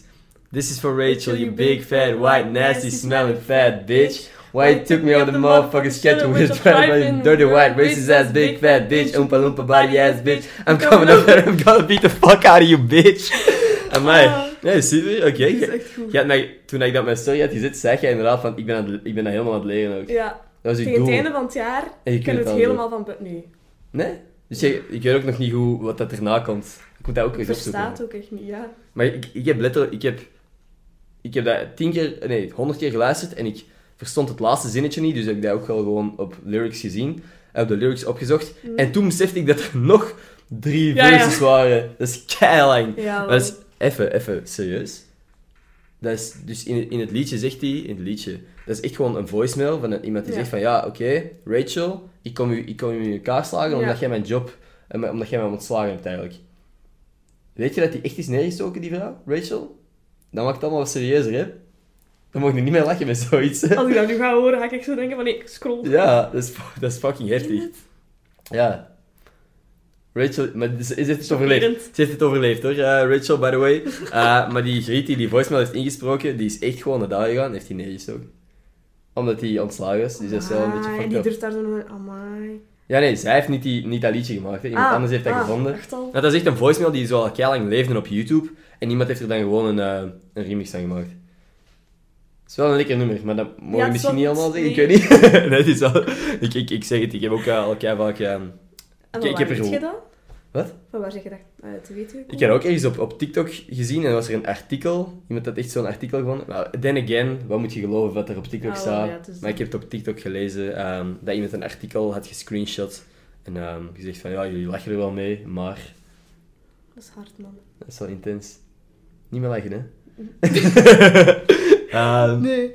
[SPEAKER 2] this is for Rachel, you big, fat, white, nasty, smelling fat bitch. Why you took me on the motherfucking schedule with a private, dirty, white, racist ass, big, fat bitch. Oompa loompa, body ass, bitch. I'm coming up there, Uh. I'm gonna beat the fuck out of you, bitch. Amai. Nee, super, oké.
[SPEAKER 3] Dat is
[SPEAKER 2] Jij-
[SPEAKER 3] echt goed.
[SPEAKER 2] jij had mij- Toen ik dat op mijn story had gezet, zei jij inderdaad van, ik ben, aan het- ik ben dat helemaal aan het leren ook.
[SPEAKER 3] Ja,
[SPEAKER 2] Dat was je
[SPEAKER 3] tegen het
[SPEAKER 2] doel.
[SPEAKER 3] einde van het jaar
[SPEAKER 2] En je kunt
[SPEAKER 3] kunnen
[SPEAKER 2] het
[SPEAKER 3] we het helemaal van... bu- Nee,
[SPEAKER 2] Nee? Dus jij, ik weet ook nog niet hoe, wat dat erna komt. Ik moet dat ook
[SPEAKER 3] ik
[SPEAKER 2] eens opzoeken.
[SPEAKER 3] versta het ook echt niet, ja.
[SPEAKER 2] Maar ik, ik heb letterlijk... Ik heb, ik heb dat tien keer... Nee, honderd keer geluisterd en ik verstond het laatste zinnetje niet. Dus heb ik dat ook wel gewoon op lyrics gezien. eh, Op de lyrics opgezocht. En toen besefte ik dat er nog drie
[SPEAKER 3] Mm. Ja, ja.
[SPEAKER 2] verses waren. Dat is keilang.
[SPEAKER 3] Ja,
[SPEAKER 2] maar dat is... Even, even, serieus. Dat is, dus in, in het liedje zegt hij... In het liedje... Dat is echt gewoon een voicemail van een- iemand die
[SPEAKER 3] Ja.
[SPEAKER 2] zegt van... Ja, oké, Rachel, ik kom, u, ik kom u in elkaar slagen
[SPEAKER 3] Ja.
[SPEAKER 2] omdat jij mijn job... eh, maar- Omdat jij mij ontslagen hebt eigenlijk. Weet je dat die echt is neergestoken, die vrouw? Rachel? Dan maakt het allemaal wat serieuzer, hè? Dan mocht je niet meer lachen met zoiets. hè?
[SPEAKER 3] Als ik dat nu ga horen, ga ik echt zo denken van nee, ik scroll.
[SPEAKER 2] Ja, dat is, fu- dat is fucking
[SPEAKER 3] Ken je
[SPEAKER 2] heftig.
[SPEAKER 3] het?
[SPEAKER 2] Ja. Rachel, maar ze, ze heeft het overleefd. Ze heeft het overleefd hoor, eh, Rachel, by the way. Eh, maar die griet die die voicemail heeft ingesproken, die is echt gewoon naar daar gegaan en heeft die neergestoken. Omdat hij ontslagen was, dus dat is wel een beetje
[SPEAKER 3] Amai,
[SPEAKER 2] fucked
[SPEAKER 3] Ah, Die
[SPEAKER 2] up.
[SPEAKER 3] durft daar zo nog... Amai.
[SPEAKER 2] Ja nee, zij heeft niet, die, niet dat liedje gemaakt, hè. iemand
[SPEAKER 3] Ah,
[SPEAKER 2] anders heeft dat
[SPEAKER 3] ah,
[SPEAKER 2] gevonden.
[SPEAKER 3] Echt al.
[SPEAKER 2] Nou, dat is echt een voicemail die zo al heel lang leefde op YouTube. En iemand heeft er dan gewoon een, eh, een remix van gemaakt. Het is wel een lekker nummer, maar dat mogen
[SPEAKER 3] Ja,
[SPEAKER 2] we
[SPEAKER 3] het
[SPEAKER 2] misschien
[SPEAKER 3] is
[SPEAKER 2] niet
[SPEAKER 3] wel
[SPEAKER 2] allemaal
[SPEAKER 3] goed.
[SPEAKER 2] zeggen. Ik weet niet. nee, het is wel... ik, ik, ik zeg het, ik heb ook eh, al kei vaak... eh,
[SPEAKER 3] En
[SPEAKER 2] Ik- ik
[SPEAKER 3] van
[SPEAKER 2] heb
[SPEAKER 3] waar
[SPEAKER 2] er
[SPEAKER 3] weet je
[SPEAKER 2] gewoon-
[SPEAKER 3] dat?
[SPEAKER 2] Wat?
[SPEAKER 3] Van waar zeg je dat eh, te weten? gekomen?
[SPEAKER 2] ik heb ook ergens op, op TikTok gezien en was er een artikel. Iemand had echt zo'n artikel gevonden. Nou, then again, wat moet je geloven wat er op TikTok
[SPEAKER 3] Ah, wel,
[SPEAKER 2] staat?
[SPEAKER 3] ja, het is-
[SPEAKER 2] maar ik heb het op TikTok gelezen ehm, dat iemand een artikel had gescreenshot. En ehm, gezegd van, ja, jullie lachen er wel mee, maar...
[SPEAKER 3] Dat is hard, man.
[SPEAKER 2] Dat is wel intens. Niet meer lachen, hè? Ehm,
[SPEAKER 3] Nee.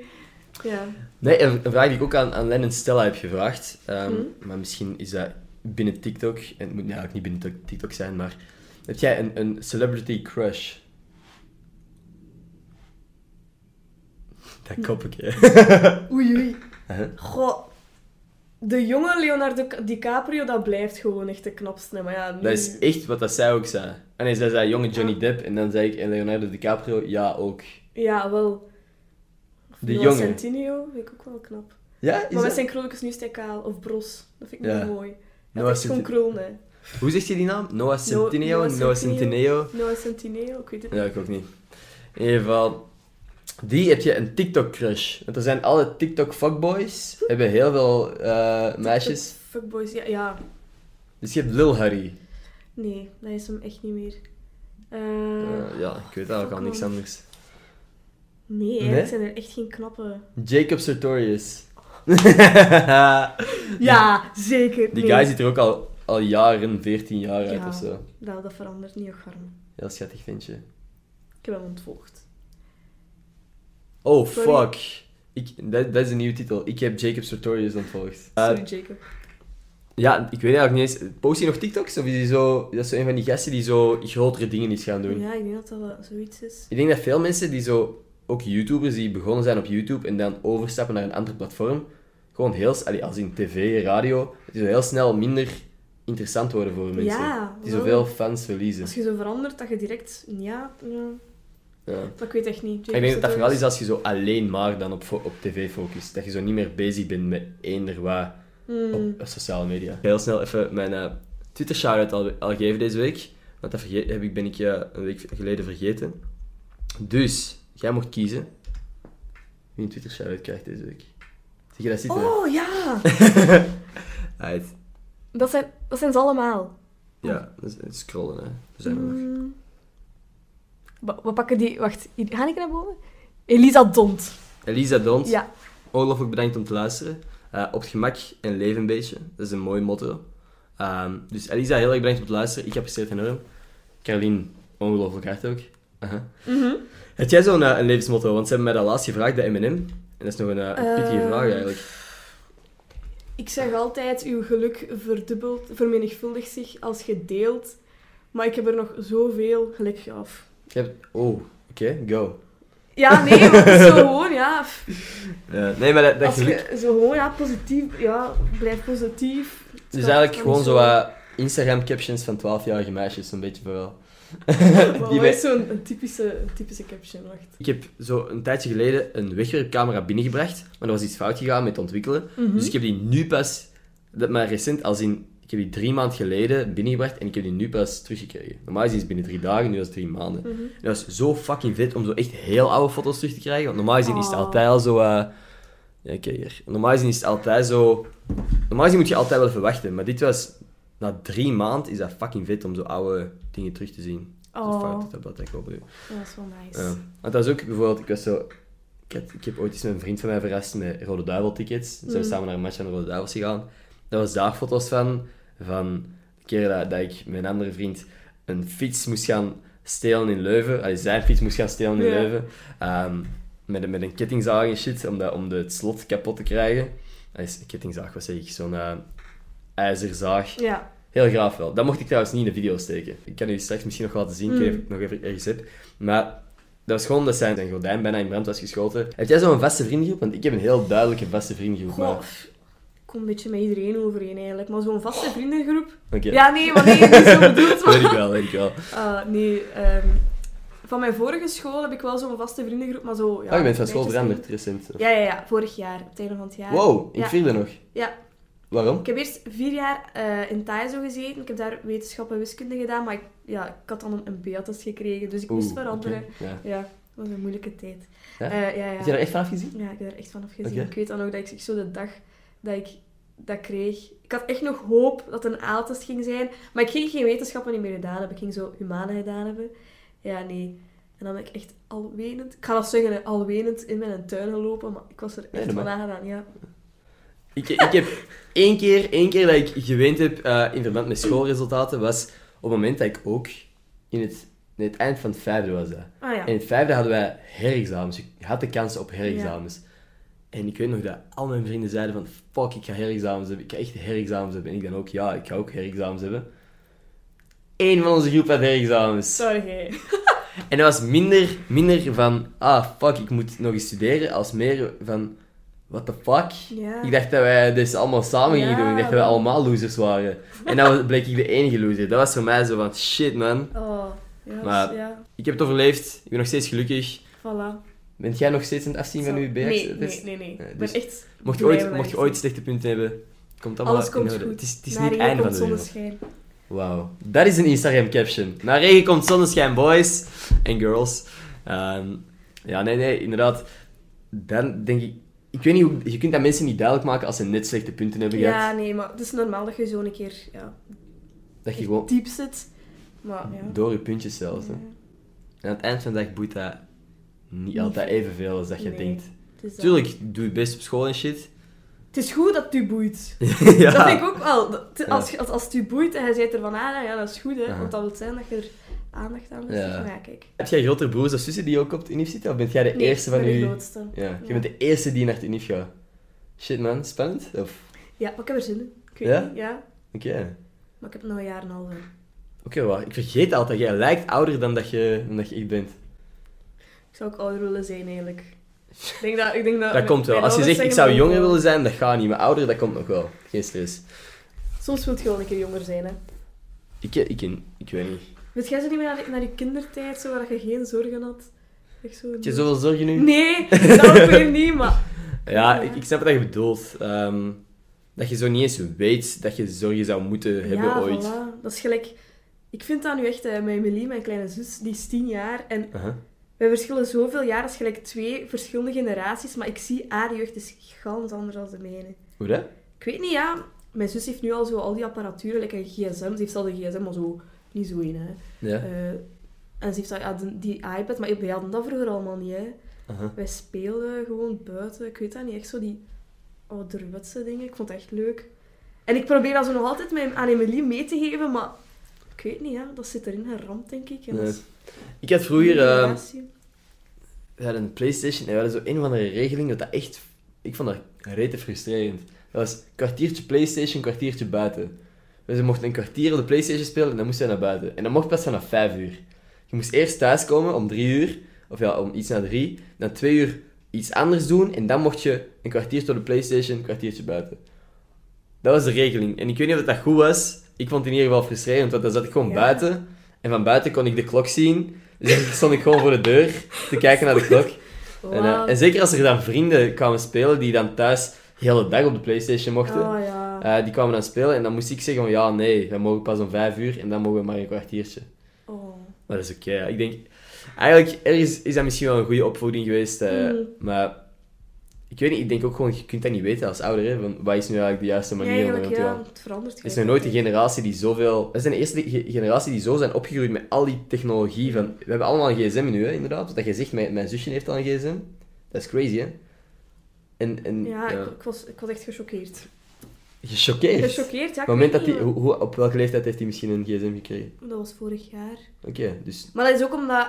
[SPEAKER 3] Ja.
[SPEAKER 2] nee, een een vraag die ik ook aan, aan Len en Stella heb gevraagd. ehm,
[SPEAKER 3] Mhm.
[SPEAKER 2] Maar misschien is dat binnen TikTok. En het moet eigenlijk niet binnen Tik- TikTok zijn, maar... Heb jij een, een celebrity crush? Dat kop ik, hè.
[SPEAKER 3] Oei, oei.
[SPEAKER 2] Huh?
[SPEAKER 3] Goh. De jonge Leonardo DiCaprio, dat blijft gewoon echt de knapste. Maar ja, nu...
[SPEAKER 2] Dat is echt wat dat zij ook zei. En nee, zij zei jonge Johnny Depp. En dan zei ik en Leonardo DiCaprio, ja, ook.
[SPEAKER 3] Ja, wel. Of
[SPEAKER 2] De
[SPEAKER 3] Noah
[SPEAKER 2] jonge.
[SPEAKER 3] Centineo vind ik ook wel knap.
[SPEAKER 2] Ja, is
[SPEAKER 3] Maar met
[SPEAKER 2] dat...
[SPEAKER 3] zijn krulletjes nu is hij kaal. Of bros. Dat vind ik
[SPEAKER 2] Ja.
[SPEAKER 3] wel mooi. Hij
[SPEAKER 2] Noah
[SPEAKER 3] heeft echt gewoon krullen, hè.
[SPEAKER 2] Hoe zegt je die naam? Noah Centineo?
[SPEAKER 3] Noah
[SPEAKER 2] Noah
[SPEAKER 3] Centineo.
[SPEAKER 2] Centineo?
[SPEAKER 3] Noah Centineo, ik weet het
[SPEAKER 2] Ja, ik ook niet. In ieder geval, die heb je een TikTok-crush. Want er zijn alle TikTok-fuckboys, hebben heel veel eh, meisjes.
[SPEAKER 3] Fuckboys, ja, ja.
[SPEAKER 2] Dus je hebt Lil Hurry.
[SPEAKER 3] Nee, dat is hem echt niet meer. Eh,
[SPEAKER 2] Eh, ja, ik weet eigenlijk al
[SPEAKER 3] Oh.
[SPEAKER 2] niks anders.
[SPEAKER 3] Nee, eigenlijk
[SPEAKER 2] Nee?
[SPEAKER 3] zijn er echt geen knappe.
[SPEAKER 2] Jacob Sartorius.
[SPEAKER 3] Ja, zeker.
[SPEAKER 2] die
[SPEAKER 3] nee.
[SPEAKER 2] guy ziet er ook al, al jaren, 14 jaar uit
[SPEAKER 3] Ja.
[SPEAKER 2] of zo.
[SPEAKER 3] Nou, Dat, dat verandert niet, Garm.
[SPEAKER 2] Heel schattig ventje.
[SPEAKER 3] Ik heb hem ontvolgd.
[SPEAKER 2] Oh,
[SPEAKER 3] Sorry.
[SPEAKER 2] fuck. Ik, dat, dat is een nieuwe titel. Ik heb Jacob Sartorius ontvolgd. Eh,
[SPEAKER 3] Sorry, Jacob.
[SPEAKER 2] Ja, ik weet eigenlijk niet eens. Post hij nog TikToks? Of is hij zo... Dat is zo een van die gasten die zo grotere dingen is gaan doen.
[SPEAKER 3] Ja, ik denk dat dat wel zoiets is.
[SPEAKER 2] Ik denk dat veel mensen die zo... Ook YouTubers die begonnen zijn op YouTube en dan overstappen naar een ander platform. Gewoon heel... s- Allee, als in tv, radio. Dat die zo heel snel minder interessant worden voor mensen.
[SPEAKER 3] Ja,
[SPEAKER 2] die
[SPEAKER 3] wel.
[SPEAKER 2] zoveel fans verliezen.
[SPEAKER 3] Als je zo verandert, dat je direct... Ja, ja.
[SPEAKER 2] Ja.
[SPEAKER 3] Maar ik weet echt niet.
[SPEAKER 2] Ik denk dat
[SPEAKER 3] dus
[SPEAKER 2] dat vooral is als je zo alleen maar dan op, fo- op tv focust. Dat je zo niet meer bezig bent met eender wat op sociale media. Ik ga Heel snel even mijn eh, Twitter shout-out al, al geven deze week. Want dat verge- heb ik, ben ik eh, een week geleden vergeten. Dus, jij mocht kiezen wie een Twitter shout-out krijgt deze week. Zie je dat zitten?
[SPEAKER 3] Oh, ja!
[SPEAKER 2] Uit.
[SPEAKER 3] Dat zijn, dat zijn ze allemaal. Mm.
[SPEAKER 2] Ja, dat is- dat is scrollen hè. We zijn er
[SPEAKER 3] Hmm.
[SPEAKER 2] nog.
[SPEAKER 3] Wa- We pakken die... Wacht, hier, ga ik naar boven? Elisa Dont.
[SPEAKER 2] Elisa Dons.
[SPEAKER 3] Ja.
[SPEAKER 2] Ongelooflijk bedankt om te luisteren. Eh, op het gemak en leven een beetje. Dat is een mooi motto. Ehm, dus Elisa, heel erg bedankt om te luisteren. Ik apprecieer het enorm. Carolien, ongelooflijk hard ook. Aha. Heb jij zo'n eh, een levensmotto? Want ze hebben mij dat laatst gevraagd bij M&M. En dat is nog een, eh, een pittige
[SPEAKER 3] Eh.
[SPEAKER 2] vraag eigenlijk.
[SPEAKER 3] Ik zeg altijd, uw geluk verdubbelt, vermenigvuldigt zich als je deelt. Maar ik heb er nog zoveel gelijk af.
[SPEAKER 2] Je hebt- Oh, oké, go.
[SPEAKER 3] Ja, nee, maar het is zo gewoon, ja. pff.
[SPEAKER 2] Eh, nee, maar dat, dat
[SPEAKER 3] Als
[SPEAKER 2] geluk...
[SPEAKER 3] je zo gewoon, ja, positief, ja, blijf positief. Het
[SPEAKER 2] Dus
[SPEAKER 3] kan-
[SPEAKER 2] eigenlijk
[SPEAKER 3] kan
[SPEAKER 2] gewoon
[SPEAKER 3] niet
[SPEAKER 2] zo wat Instagram-captions van 12-jarige meisjes, zo'n beetje vooral.
[SPEAKER 3] Maar
[SPEAKER 2] die
[SPEAKER 3] wat
[SPEAKER 2] wij-
[SPEAKER 3] is zo'n een typische, een typische caption? Wacht.
[SPEAKER 2] Ik heb zo een tijdje geleden een wegwerpcamera binnengebracht, maar er was iets fout gegaan met ontwikkelen.
[SPEAKER 3] Mhm.
[SPEAKER 2] Dus ik heb die nu pas, dat maar recent, als in, ik heb die drie maanden geleden binnengebracht en ik heb die nu pas teruggekregen. Normaal is die binnen drie dagen, nu was het drie maanden.
[SPEAKER 3] Mhm.
[SPEAKER 2] En dat is zo fucking vet om zo echt heel oude foto's terug te krijgen, want normaal gezien is het
[SPEAKER 3] Oh.
[SPEAKER 2] altijd al zo... eh, Ja, kijk hier. Normaal gezien is het altijd zo... Normaal gezien moet je altijd wel even wachten, maar dit was... Na drie maanden is dat fucking vet om zo oude dingen terug te zien. Zo
[SPEAKER 3] Oh.
[SPEAKER 2] fout dat dat ik op
[SPEAKER 3] Ja, dat is wel nice.
[SPEAKER 2] ja. Want dat is ook bijvoorbeeld, ik was zo... Ik, had- ik heb ooit eens een vriend van mij verrast met Rode Duivel tickets. Dus
[SPEAKER 3] Mm.
[SPEAKER 2] zijn we samen naar een match van de Rode Duivels gegaan. Daar was daar foto's van, van de keer dat, dat ik met een andere vriend een fiets moest gaan stelen in Leuven. Allee, zijn fiets moest gaan stelen in
[SPEAKER 3] Ja.
[SPEAKER 2] Leuven. Ehm, met, een- met een kettingzaag en shit, om, dat, om de, het slot kapot te krijgen. Allee, een kettingzaag, wat zeg ik? Zo'n eh, ijzerzaag.
[SPEAKER 3] Ja.
[SPEAKER 2] Heel graaf wel. Dat mocht ik trouwens niet in de video steken. Ik kan jullie straks misschien nog laten zien. Ik weet niet of ik
[SPEAKER 3] Hmm.
[SPEAKER 2] het nog even ergens heb. Maar dat was gewoon dat zijn, zijn gordijn bijna in brand was geschoten. Heb jij zo'n vaste vriendengroep? Want ik heb een heel duidelijke vaste vriendengroep.
[SPEAKER 3] Goh,
[SPEAKER 2] maar-
[SPEAKER 3] pff, ik kom een beetje met iedereen overeen eigenlijk. Maar zo'n vaste vriendengroep...
[SPEAKER 2] Oké.
[SPEAKER 3] Ja, nee, maar nee, niet zo bedoeld. maar-
[SPEAKER 2] Weet ik wel, weet ik wel.
[SPEAKER 3] Ah, nee, ehm, van mijn vorige school heb ik wel zo'n vaste vriendengroep, maar zo... Ja,
[SPEAKER 2] oh, je bent van school
[SPEAKER 3] netjes
[SPEAKER 2] veranderd recent.
[SPEAKER 3] Ja, ja, ja, vorig jaar, op het einde van het jaar.
[SPEAKER 2] Wow, ik
[SPEAKER 3] ja.
[SPEAKER 2] vierde nog.
[SPEAKER 3] Ja,
[SPEAKER 2] Waarom?
[SPEAKER 3] ik heb eerst vier jaar eh, in Thaizo gezeten. Ik heb daar wetenschap en wiskunde gedaan, maar ik, ja, ik had dan een MBA-test gekregen, dus ik moest
[SPEAKER 2] Oeh,
[SPEAKER 3] veranderen.
[SPEAKER 2] oké, ja.
[SPEAKER 3] Ja, dat was een moeilijke tijd.
[SPEAKER 2] Ja?
[SPEAKER 3] Eh, ja, ja.
[SPEAKER 2] Heb je daar echt vanaf gezien?
[SPEAKER 3] Ja, ik heb er echt van afgezien.
[SPEAKER 2] Oké.
[SPEAKER 3] Ik weet dan ook dat ik zo de dag dat ik dat kreeg... Ik had echt nog hoop dat het een aaltest ging zijn. Maar ik ging geen wetenschappen niet meer gedaan hebben. Ik ging zo humane gedaan hebben. Ja, nee. En dan ben ik echt alwenend... Ik ga dat zeggen, hè, alwenend in mijn tuin gelopen. Maar ik was er echt
[SPEAKER 2] dat
[SPEAKER 3] van
[SPEAKER 2] mag.
[SPEAKER 3] aangedaan, ja.
[SPEAKER 2] Ik, ik heb één keer, één keer dat ik geweend heb eh, in verband met schoolresultaten, was op het moment dat ik ook in het, in het eind van het vijfde was. Dat.
[SPEAKER 3] Ah ja.
[SPEAKER 2] En in het vijfde hadden wij herexamens. Ik had de kans op herexamens. En ik weet nog dat al mijn vrienden zeiden van, fuck, ik ga herexamens hebben. Ik ga echt herexamens hebben. En ik dan ook, ja, ik ga ook herexamens hebben. Eén van onze groep had herexamens.
[SPEAKER 3] Sorry, hè.
[SPEAKER 2] En dat was minder, minder van, ah fuck, ik moet nog eens studeren, als meer van, what the fuck?
[SPEAKER 3] Ja.
[SPEAKER 2] Ik dacht dat wij dit allemaal samen gingen
[SPEAKER 3] Ja,
[SPEAKER 2] doen. Ik dacht dat wij allemaal losers waren. En dan was- bleek ik de enige loser. Dat was voor mij zo van, shit man.
[SPEAKER 3] Oh, ja.
[SPEAKER 2] Maar-
[SPEAKER 3] ja.
[SPEAKER 2] Ik heb het overleefd, ik ben nog steeds gelukkig.
[SPEAKER 3] Voilà.
[SPEAKER 2] Bent jij nog steeds aan het afzien van
[SPEAKER 3] Zo.
[SPEAKER 2] uw BX?
[SPEAKER 3] Nee, nee, nee. nee.
[SPEAKER 2] Ja,
[SPEAKER 3] Ik
[SPEAKER 2] dus
[SPEAKER 3] ben echt...
[SPEAKER 2] Mocht je
[SPEAKER 3] blij
[SPEAKER 2] ooit,
[SPEAKER 3] met
[SPEAKER 2] mocht je
[SPEAKER 3] mijn
[SPEAKER 2] ooit slechte punten hebben, komt allemaal
[SPEAKER 3] Alles
[SPEAKER 2] in
[SPEAKER 3] komt
[SPEAKER 2] orde.
[SPEAKER 3] goed.
[SPEAKER 2] Het is, het is
[SPEAKER 3] Na
[SPEAKER 2] niet het
[SPEAKER 3] regen
[SPEAKER 2] einde van
[SPEAKER 3] komt
[SPEAKER 2] de wereld.
[SPEAKER 3] zonneschijn.
[SPEAKER 2] Wauw. Dat is een Instagram caption. Na regen komt zonneschijn, boys en girls. Ehm, ja, nee, nee, inderdaad. Dan denk ik... Ik weet niet hoe... Je kunt dat mensen niet duidelijk maken als ze net slechte punten hebben gehad.
[SPEAKER 3] Ja, nee, maar het is normaal dat je zo een keer ja,
[SPEAKER 2] dat je gewoon ah,
[SPEAKER 3] diep zit. Maar ja.
[SPEAKER 2] door je puntjes zelfs. hè. En aan het eind van de dag boeit dat niet altijd evenveel als dat je
[SPEAKER 3] Nee.
[SPEAKER 2] denkt.
[SPEAKER 3] het is dat.
[SPEAKER 2] Tuurlijk, doe je best op school en shit.
[SPEAKER 3] Het is goed dat het u boeit.
[SPEAKER 2] ja.
[SPEAKER 3] Dat vind ik ook wel. Dat- te-
[SPEAKER 2] Ja.
[SPEAKER 3] Als, als, als het u boeit en je zit ervan aan, ja, dat is goed, hè.
[SPEAKER 2] Aha.
[SPEAKER 3] Want dat wil zijn dat je er aandacht aan moet
[SPEAKER 2] Ja.
[SPEAKER 3] ja. Maar ja, kijk.
[SPEAKER 2] Heb jij grotere broers of zussen die ook op het UNIF zitten? Of ben jij de
[SPEAKER 3] Nee,
[SPEAKER 2] eerste
[SPEAKER 3] ik
[SPEAKER 2] van
[SPEAKER 3] ben de
[SPEAKER 2] je...
[SPEAKER 3] grootste.
[SPEAKER 2] Ja, je
[SPEAKER 3] Ja.
[SPEAKER 2] bent de eerste die naar het UNIF gaat. Shit man, spannend? Of...
[SPEAKER 3] Ja, maar ik heb er zin in. Ik weet
[SPEAKER 2] Ja?
[SPEAKER 3] niet, ja.
[SPEAKER 2] Oké.
[SPEAKER 3] Maar ik heb nog een jaar en een half. hè.
[SPEAKER 2] Oké, waar. Ik vergeet altijd. Jij lijkt ouder dan dat je, dan dat je echt bent.
[SPEAKER 3] Ik zou ook ouder willen zijn, eigenlijk. Ik denk dat... Ik denk dat
[SPEAKER 2] Dat komt wel. Als je zegt, ik zou jonger willen zijn, dat gaat niet. Maar ouder, dat komt nog wel. Geen stress.
[SPEAKER 3] Soms wilt je wel een keer jonger zijn, hè.
[SPEAKER 2] Ik, eh, ik, ik, ik weet niet.
[SPEAKER 3] Weet jij zo niet meer naar, naar je kindertijd, zo, waar je geen zorgen had? Echt zo...
[SPEAKER 2] Heb je zoveel zorgen nu?
[SPEAKER 3] Nee, dat ook weer niet, maar...
[SPEAKER 2] Ja, ik, ik snap wat je bedoelt. Ehm, dat je zo niet eens weet dat je zorgen zou moeten hebben
[SPEAKER 3] ja,
[SPEAKER 2] ooit.
[SPEAKER 3] voilà. Dat is gelijk... Ik vind dat nu echt, eh, met Emily, mijn kleine zus, die is tien jaar. En
[SPEAKER 2] Aha.
[SPEAKER 3] wij verschillen zoveel jaar, dat is gelijk twee verschillende generaties. Maar ik zie haar jeugd is gans anders dan de mijne.
[SPEAKER 2] Hoe dat?
[SPEAKER 3] Ik weet niet, ja. Mijn zus heeft nu al zo al die apparatuur, like een gsm. Ze heeft al de gsm, maar zo niet zo in, hè.
[SPEAKER 2] Ja.
[SPEAKER 3] Eh, en ze heeft al- ja, die, die iPad, maar wij hadden dat vroeger allemaal niet, hè.
[SPEAKER 2] Aha.
[SPEAKER 3] Wij speelden gewoon buiten. Ik weet dat niet, echt zo die ouderwetse dingen. Ik vond het echt leuk. En ik probeer dat zo nog altijd met, aan Emily mee te geven, maar... Ik weet niet, ja. Dat zit erin geramd, denk ik. En dat
[SPEAKER 2] Nee.
[SPEAKER 3] is-
[SPEAKER 2] Ik had vroeger...
[SPEAKER 3] die
[SPEAKER 2] ehm,
[SPEAKER 3] generatie.
[SPEAKER 2] we hadden een PlayStation en we hadden zo een of andere regeling dat dat echt. Ik vond dat rete frustrerend. Dat was kwartiertje PlayStation, kwartiertje buiten. Dus je mocht een kwartier op de PlayStation spelen en dan moest je naar buiten. En dat mocht pas vanaf 5 uur. Je moest eerst thuiskomen om 3 uur, of ja, om iets na 3. Dan 2 uur iets anders doen en dan mocht je een kwartiertje op de PlayStation, een kwartiertje buiten. Dat was de regeling. En ik weet niet of dat goed was. Ik vond het in ieder geval frustrerend, want dan zat ik gewoon
[SPEAKER 3] Ja.
[SPEAKER 2] buiten. En van buiten kon ik de klok zien. Dus dan stond ik gewoon voor de deur te kijken naar de klok. En, eh,
[SPEAKER 3] Wauw.
[SPEAKER 2] en zeker als er dan vrienden kwamen spelen die dan thuis de hele dag op de PlayStation mochten.
[SPEAKER 3] Oh, ja.
[SPEAKER 2] eh, die kwamen dan spelen en dan moest ik zeggen van ja, nee, we mogen pas om vijf uur en dan mogen we maar een kwartiertje.
[SPEAKER 3] Oh.
[SPEAKER 2] Maar dat is oké. ja. Ik denk, eigenlijk ergens is dat misschien wel een goede opvoeding geweest. eh,
[SPEAKER 3] Mm.
[SPEAKER 2] Maar ik weet niet, ik denk ook gewoon, je kunt dat niet weten als ouder. Hè, van, wat is nu eigenlijk de juiste
[SPEAKER 3] Ja,
[SPEAKER 2] manier om
[SPEAKER 3] eigenlijk,
[SPEAKER 2] ermee om te
[SPEAKER 3] ja.
[SPEAKER 2] gaan?
[SPEAKER 3] Het
[SPEAKER 2] Er
[SPEAKER 3] verandert
[SPEAKER 2] is nog
[SPEAKER 3] gelijk
[SPEAKER 2] nooit een
[SPEAKER 3] altijd.
[SPEAKER 2] generatie die zoveel... We zijn de eerste ge- generatie die zo zijn opgegroeid met al die technologie. Van, we hebben allemaal een gsm nu, hè, inderdaad. Dat je zegt, mijn, mijn zusje heeft al een gsm. Dat is crazy, hè? En... en
[SPEAKER 3] Ja,
[SPEAKER 2] ja.
[SPEAKER 3] Ik, ik was, ik was echt gechoqueerd.
[SPEAKER 2] Gechoqueerd.
[SPEAKER 3] Gechoqueerd, ja.
[SPEAKER 2] Op
[SPEAKER 3] ik
[SPEAKER 2] het moment dat
[SPEAKER 3] weet
[SPEAKER 2] die,
[SPEAKER 3] niet,
[SPEAKER 2] hoe, hoe- op welke leeftijd heeft hij misschien een gsm gekregen?
[SPEAKER 3] maar- Dat was vorig jaar.
[SPEAKER 2] Oké, dus...
[SPEAKER 3] Maar dat is ook omdat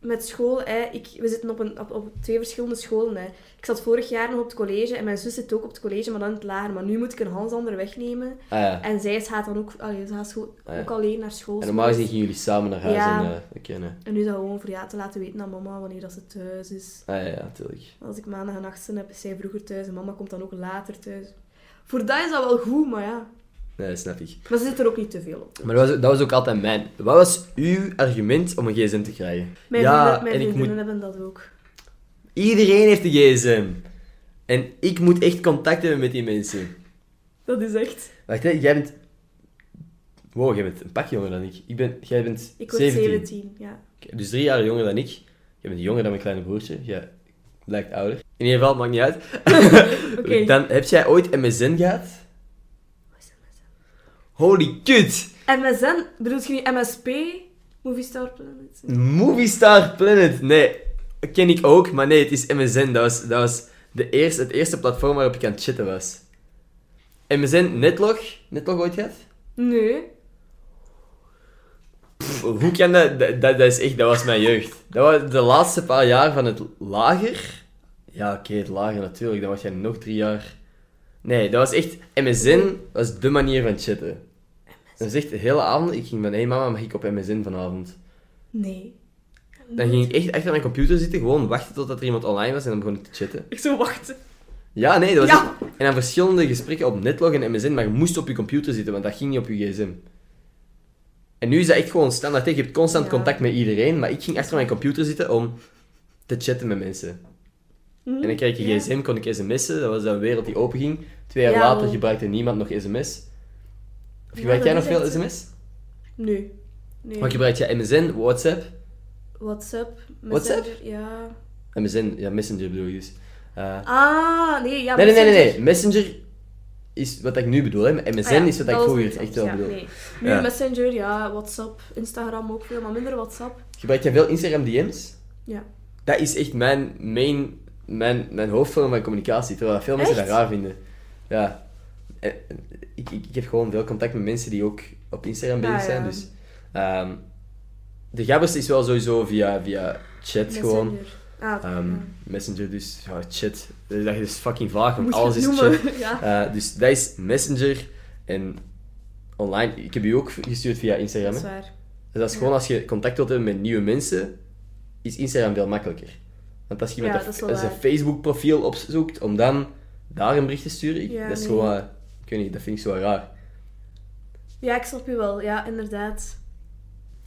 [SPEAKER 3] met school, hè, ik, we zitten op, een, op, op twee verschillende scholen. Hè. Ik zat vorig jaar nog op het college en mijn zus zit ook op het college, maar dan in het lager. Maar nu moet ik een Hans ander wegnemen.
[SPEAKER 2] Ah ja.
[SPEAKER 3] En zij gaat dan ook, allee, ze gaat scho-
[SPEAKER 2] Ah, ja.
[SPEAKER 3] ook alleen naar school.
[SPEAKER 2] En normaal gezien gingen jullie samen naar huis
[SPEAKER 3] Ja.
[SPEAKER 2] en... eh, Oké, nee.
[SPEAKER 3] En nu is dat gewoon voor ja te laten weten aan mama wanneer dat ze thuis is.
[SPEAKER 2] Ah ja, ja, natuurlijk.
[SPEAKER 3] Als ik maandag en nachten heb, is zij vroeger thuis en mama komt dan ook later thuis. Voor dat is dat wel goed, maar ja.
[SPEAKER 2] Nee, dat snap ik.
[SPEAKER 3] Maar ze zit er ook niet te veel op.
[SPEAKER 2] Maar dat was, dat was ook altijd mijn... Wat was uw argument om een gsm te krijgen?
[SPEAKER 3] Mijn vrienden, mijn
[SPEAKER 2] en ik
[SPEAKER 3] vriendinnen
[SPEAKER 2] moet
[SPEAKER 3] hebben dat ook.
[SPEAKER 2] Iedereen heeft een gsm. En ik moet echt contact hebben met die mensen.
[SPEAKER 3] Dat is echt.
[SPEAKER 2] Wacht, hè, jij bent... Wow, jij bent een pak jonger dan ik. ik ben... Jij bent
[SPEAKER 3] Ik word
[SPEAKER 2] 17.
[SPEAKER 3] 17 ja.
[SPEAKER 2] Oké, Dus drie jaar jonger dan ik. Jij bent jonger dan mijn kleine broertje. Jij lijkt ouder. In ieder geval, maakt niet uit.
[SPEAKER 3] Oké.
[SPEAKER 2] Dan heb jij ooit MSN gehad? Holy kut!
[SPEAKER 3] MSN, bedoelt je nu MSP? Movie Star Planet?
[SPEAKER 2] Movie Star Planet. Nee, ken ik ook. Maar nee, het is MSN. Dat was, dat was de eerste, het eerste platform waarop ik aan het chatten was. MSN Netlog. Netlog ooit gehad?
[SPEAKER 3] Nee.
[SPEAKER 2] Pff, Hoe kan dat? Dat, dat, dat is echt, dat was mijn jeugd. Dat was de laatste paar jaar van het lager. Ja, oké, het lager natuurlijk. Dan was jij nog drie jaar. Nee, dat was echt... MSN was de manier van chatten. Dat was echt de hele avond. Ik ging van, hé hey mama, mag ik op MSN vanavond?
[SPEAKER 3] Nee.
[SPEAKER 2] Dan ging ik echt achter mijn computer zitten, gewoon wachten totdat er iemand online was en dan begon ik te chatten.
[SPEAKER 3] Ik zo wachten.
[SPEAKER 2] Ja, nee, dat was
[SPEAKER 3] Ja.
[SPEAKER 2] echt- En dan verschillende gesprekken op Netlog en MSN, maar je moest op je computer zitten, want dat ging niet op je gsm. En nu is dat echt gewoon standaard. hè. Je hebt constant
[SPEAKER 3] Ja.
[SPEAKER 2] contact met iedereen, maar ik ging achter mijn computer zitten om te chatten met mensen.
[SPEAKER 3] Hm?
[SPEAKER 2] En dan kreeg je gsm, kon ik sms'en, dat was een wereld die openging. Twee jaar
[SPEAKER 3] Ja,
[SPEAKER 2] later
[SPEAKER 3] wel.
[SPEAKER 2] gebruikte niemand nog sms. Of
[SPEAKER 3] Ja,
[SPEAKER 2] gebruik
[SPEAKER 3] dat
[SPEAKER 2] jij nog
[SPEAKER 3] is
[SPEAKER 2] veel
[SPEAKER 3] echt-
[SPEAKER 2] sms?
[SPEAKER 3] Nee. Nee.
[SPEAKER 2] Maar gebruik jij MSN, WhatsApp?
[SPEAKER 3] WhatsApp,
[SPEAKER 2] WhatsApp?
[SPEAKER 3] Messenger, ja.
[SPEAKER 2] MSN, ja, Messenger bedoel je dus. Eh,
[SPEAKER 3] Ah, nee, ja.
[SPEAKER 2] Nee, nee, nee, nee, nee.
[SPEAKER 3] Messenger.
[SPEAKER 2] Messenger is wat ik nu bedoel, hè. MSN
[SPEAKER 3] Ah ja,
[SPEAKER 2] is wat ik
[SPEAKER 3] dat was
[SPEAKER 2] vroeger
[SPEAKER 3] WhatsApp,
[SPEAKER 2] echt wel
[SPEAKER 3] ja,
[SPEAKER 2] bedoel.
[SPEAKER 3] nee. Nu
[SPEAKER 2] Ja.
[SPEAKER 3] Messenger, ja, WhatsApp, Instagram ook veel, maar minder WhatsApp.
[SPEAKER 2] Gebruik jij veel Instagram DM's?
[SPEAKER 3] Ja.
[SPEAKER 2] Dat is echt mijn main, mijn, mijn hoofdvorm van communicatie, terwijl veel mensen
[SPEAKER 3] Echt?
[SPEAKER 2] dat raar vinden. Ja. En- en Ik, ik, ik heb gewoon veel contact met mensen die ook op Instagram
[SPEAKER 3] Ah, Ja,
[SPEAKER 2] bezig zijn,
[SPEAKER 3] ja.
[SPEAKER 2] dus... ehm, de gabbers is wel sowieso via, via chat gewoon.
[SPEAKER 3] Messenger. Ah,
[SPEAKER 2] Ehm,
[SPEAKER 3] ja.
[SPEAKER 2] Messenger dus, ja, chat. Dus Dat is fucking vaag, want
[SPEAKER 3] Moet je
[SPEAKER 2] alles
[SPEAKER 3] het
[SPEAKER 2] is
[SPEAKER 3] noemen?
[SPEAKER 2] chat.
[SPEAKER 3] ja.
[SPEAKER 2] Eh, dus dat is Messenger en online. Ik heb u ook gestuurd via Instagram.
[SPEAKER 3] Dat is
[SPEAKER 2] hè?
[SPEAKER 3] waar.
[SPEAKER 2] Dus dat is gewoon als je contact wilt hebben met nieuwe mensen, is Instagram veel makkelijker. Want als je met
[SPEAKER 3] Ja,
[SPEAKER 2] een,
[SPEAKER 3] dat is wel
[SPEAKER 2] als je een
[SPEAKER 3] waar.
[SPEAKER 2] Facebook-profiel opzoekt om dan daar een bericht te sturen, ik-
[SPEAKER 3] Ja,
[SPEAKER 2] dat is
[SPEAKER 3] nee.
[SPEAKER 2] gewoon. eh, Ik weet niet, dat vind ik zo raar.
[SPEAKER 3] Ja, ik snap je wel. Ja, inderdaad.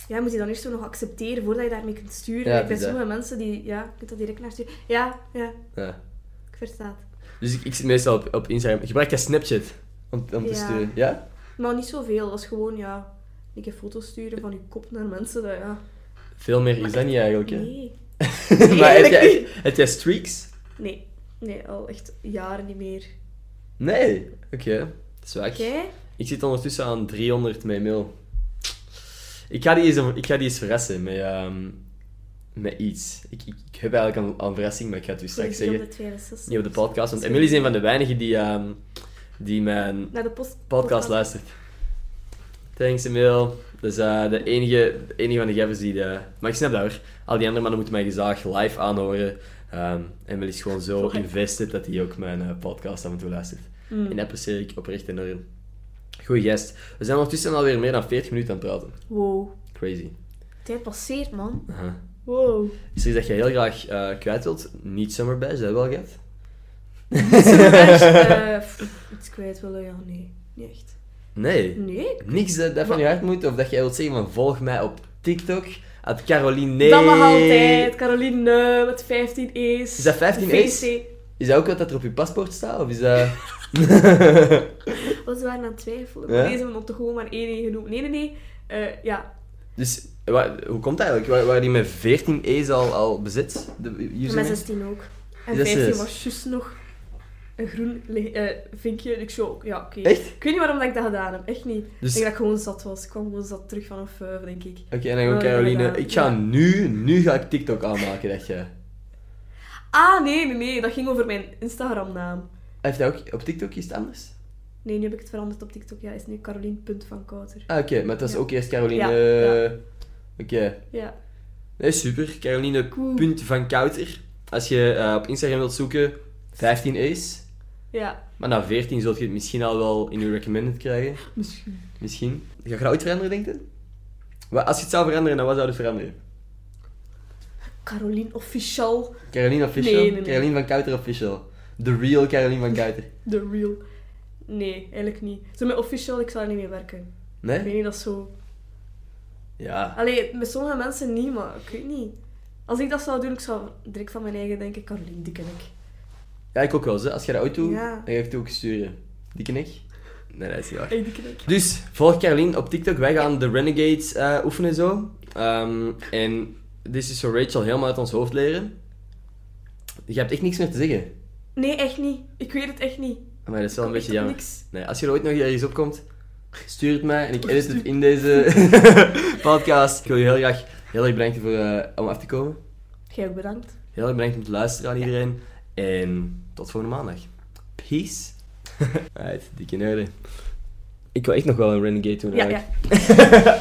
[SPEAKER 3] Ja, moet je dan eerst zo nog accepteren voordat je daarmee kunt sturen.
[SPEAKER 2] Ja,
[SPEAKER 3] ik ben
[SPEAKER 2] dus,
[SPEAKER 3] sommige mensen die... Ja, je kunt dat direct naar sturen. Ja, ja.
[SPEAKER 2] Ja.
[SPEAKER 3] Ik versta het.
[SPEAKER 2] Dus ik, ik zit meestal op, op Instagram. Gebruik jij Snapchat om, om te
[SPEAKER 3] Ja.
[SPEAKER 2] sturen? Ja?
[SPEAKER 3] Maar niet zoveel. Dat is gewoon, ja... Een keer foto's sturen van je kop naar mensen. Dat, ja.
[SPEAKER 2] Veel meer is dat niet eigenlijk. Hè?
[SPEAKER 3] Nee.
[SPEAKER 2] maar heb
[SPEAKER 3] Eigenlijk
[SPEAKER 2] jij, heb jij streaks?
[SPEAKER 3] Nee. Nee, al echt jaren niet meer.
[SPEAKER 2] Nee. Oké, Zwak.
[SPEAKER 3] Oké.
[SPEAKER 2] Ik zit ondertussen aan 300 met mail. Ik ga die eens, ik ga die eens verrassen met, ehm, met iets. Ik, ik, ik heb eigenlijk een, een verrassing, maar ik ga het u straks
[SPEAKER 3] Voor
[SPEAKER 2] zeggen.
[SPEAKER 3] 362.
[SPEAKER 2] Niet op de podcast, want Emily is een van de weinigen die, ehm, die mijn
[SPEAKER 3] Naar de post
[SPEAKER 2] podcast luistert. Thanks, Emil. Dat is eh, de, enige, de enige van de gevers die... De... Maar ik snap dat hoor. Al die andere mannen moeten mij gezaag live aanhoren. Ehm Emily is gewoon zo
[SPEAKER 3] Live.
[SPEAKER 2] invested dat hij ook mijn eh, podcast af en toe luistert.
[SPEAKER 3] Mm.
[SPEAKER 2] En dat apprecieer ik oprecht enorm. Goeie gest. We zijn ondertussen alweer meer dan 40 minuten aan het praten.
[SPEAKER 3] Wow.
[SPEAKER 2] Crazy.
[SPEAKER 3] Tijd passeert, man.
[SPEAKER 2] Aha.
[SPEAKER 3] Wow.
[SPEAKER 2] Is er iets dat je heel graag eh, kwijt wilt? Niet Summer Bash, dat wel gaat?
[SPEAKER 3] Eh, pff, iets kwijt willen, ja, nee. Niet echt.
[SPEAKER 2] Nee.
[SPEAKER 3] Nee?
[SPEAKER 2] Niks dat, dat van je hart moet of dat jij wilt zeggen van volg mij op TikTok. At Caroline. Nee.
[SPEAKER 3] Dat mag altijd. Caroline, met 15 is.
[SPEAKER 2] Is dat 15
[SPEAKER 3] De
[SPEAKER 2] is?
[SPEAKER 3] VC.
[SPEAKER 2] Is dat ook wat dat er op je paspoort staat? Of is dat...
[SPEAKER 3] Want Oh, ze waren aan het twijfelen.
[SPEAKER 2] Ja?
[SPEAKER 3] Maar deze hebben we toch gewoon maar één E genoemd. Nee, nee, nee. Eh, ja,
[SPEAKER 2] dus wa- hoe komt dat eigenlijk? Waar, waren die met 14 E's al, al bezit? De username?
[SPEAKER 3] met 16 ook. En
[SPEAKER 2] Yes,
[SPEAKER 3] 15
[SPEAKER 2] yes.
[SPEAKER 3] was juist nog een groen li- eh, vinkje. Ik zo, ja, oké.
[SPEAKER 2] Echt?
[SPEAKER 3] Ik weet niet waarom dat ik dat gedaan heb. Echt niet.
[SPEAKER 2] Dus-
[SPEAKER 3] Ik denk dat ik gewoon zat was. Ik kwam gewoon zat terug van een fuif, denk ik.
[SPEAKER 2] Oké, en dan gewoon
[SPEAKER 3] Oh,
[SPEAKER 2] Caroline.
[SPEAKER 3] inderdaad,
[SPEAKER 2] Ik ga
[SPEAKER 3] ja.
[SPEAKER 2] nu, nu ga ik TikTok aanmaken, dacht je.
[SPEAKER 3] Ah, nee, nee, nee. Dat ging over mijn Instagram-naam.
[SPEAKER 2] Heeft hij ook op TikTok iets anders?
[SPEAKER 3] Nee, nu heb ik het veranderd op TikTok. Ja, is nu Carolien.vankouter.
[SPEAKER 2] Ah, oké, maar het was
[SPEAKER 3] Ja.
[SPEAKER 2] ook eerst Caroline.
[SPEAKER 3] Ja,
[SPEAKER 2] eh,
[SPEAKER 3] ja.
[SPEAKER 2] Oké.
[SPEAKER 3] Ja.
[SPEAKER 2] Nee, super. Caroline
[SPEAKER 3] Cool.
[SPEAKER 2] Punt van Kouter. Als je eh, op Instagram wilt zoeken, 15 Ace.
[SPEAKER 3] Ja.
[SPEAKER 2] Maar na 14 zult je het misschien al wel in je recommended krijgen.
[SPEAKER 3] Misschien.
[SPEAKER 2] Misschien. Ga je dat ooit veranderen, denk je? Wat- Als je het zou veranderen, dan wat zou je dus veranderen?
[SPEAKER 3] Carolien Official.
[SPEAKER 2] Caroline Official?
[SPEAKER 3] Nee, nee, nee.
[SPEAKER 2] Caroline van Kouter Official. The real Caroline van Kouter.
[SPEAKER 3] The real. Nee, eigenlijk niet. Zo met Official, ik zou er niet mee werken. Ik
[SPEAKER 2] Nee?
[SPEAKER 3] weet niet, dat is zo...
[SPEAKER 2] Ja.
[SPEAKER 3] Allee, met sommige mensen niet, maar ik weet niet. Als ik dat zou doen, ik zou direct van mijn eigen denken, Caroline, die ken ik.
[SPEAKER 2] Ja, ik ook wel. Zo. Als je dat ooit doet,
[SPEAKER 3] Ja.
[SPEAKER 2] dan ga ik het ook sturen. Die knik? Nee, dat is niet waar.
[SPEAKER 3] Hey, die ken ik.
[SPEAKER 2] Dus, volg Caroline op TikTok. Wij gaan de Renegades eh, oefenen zo. Ehm, en dit is zo Rachel helemaal uit ons hoofd leren. Je hebt echt niks meer te zeggen.
[SPEAKER 3] Nee, echt niet. Ik weet het echt niet. Ik
[SPEAKER 2] Maar dat is wel een
[SPEAKER 3] kom echt
[SPEAKER 2] beetje
[SPEAKER 3] op
[SPEAKER 2] jammer.
[SPEAKER 3] Niks.
[SPEAKER 2] Nee, als je er ooit nog ergens op komt, stuur het mij en ik edit het in deze podcast. Ik wil je heel graag heel erg bedanken voor, eh, om af te komen.
[SPEAKER 3] Jij ook bedankt.
[SPEAKER 2] Heel erg bedankt om te luisteren aan iedereen. En tot volgende maandag. Peace. Alright, dikke nerden. Ik wil echt nog wel een Renegade doen.
[SPEAKER 3] Ja,
[SPEAKER 2] eigenlijk.
[SPEAKER 3] ja.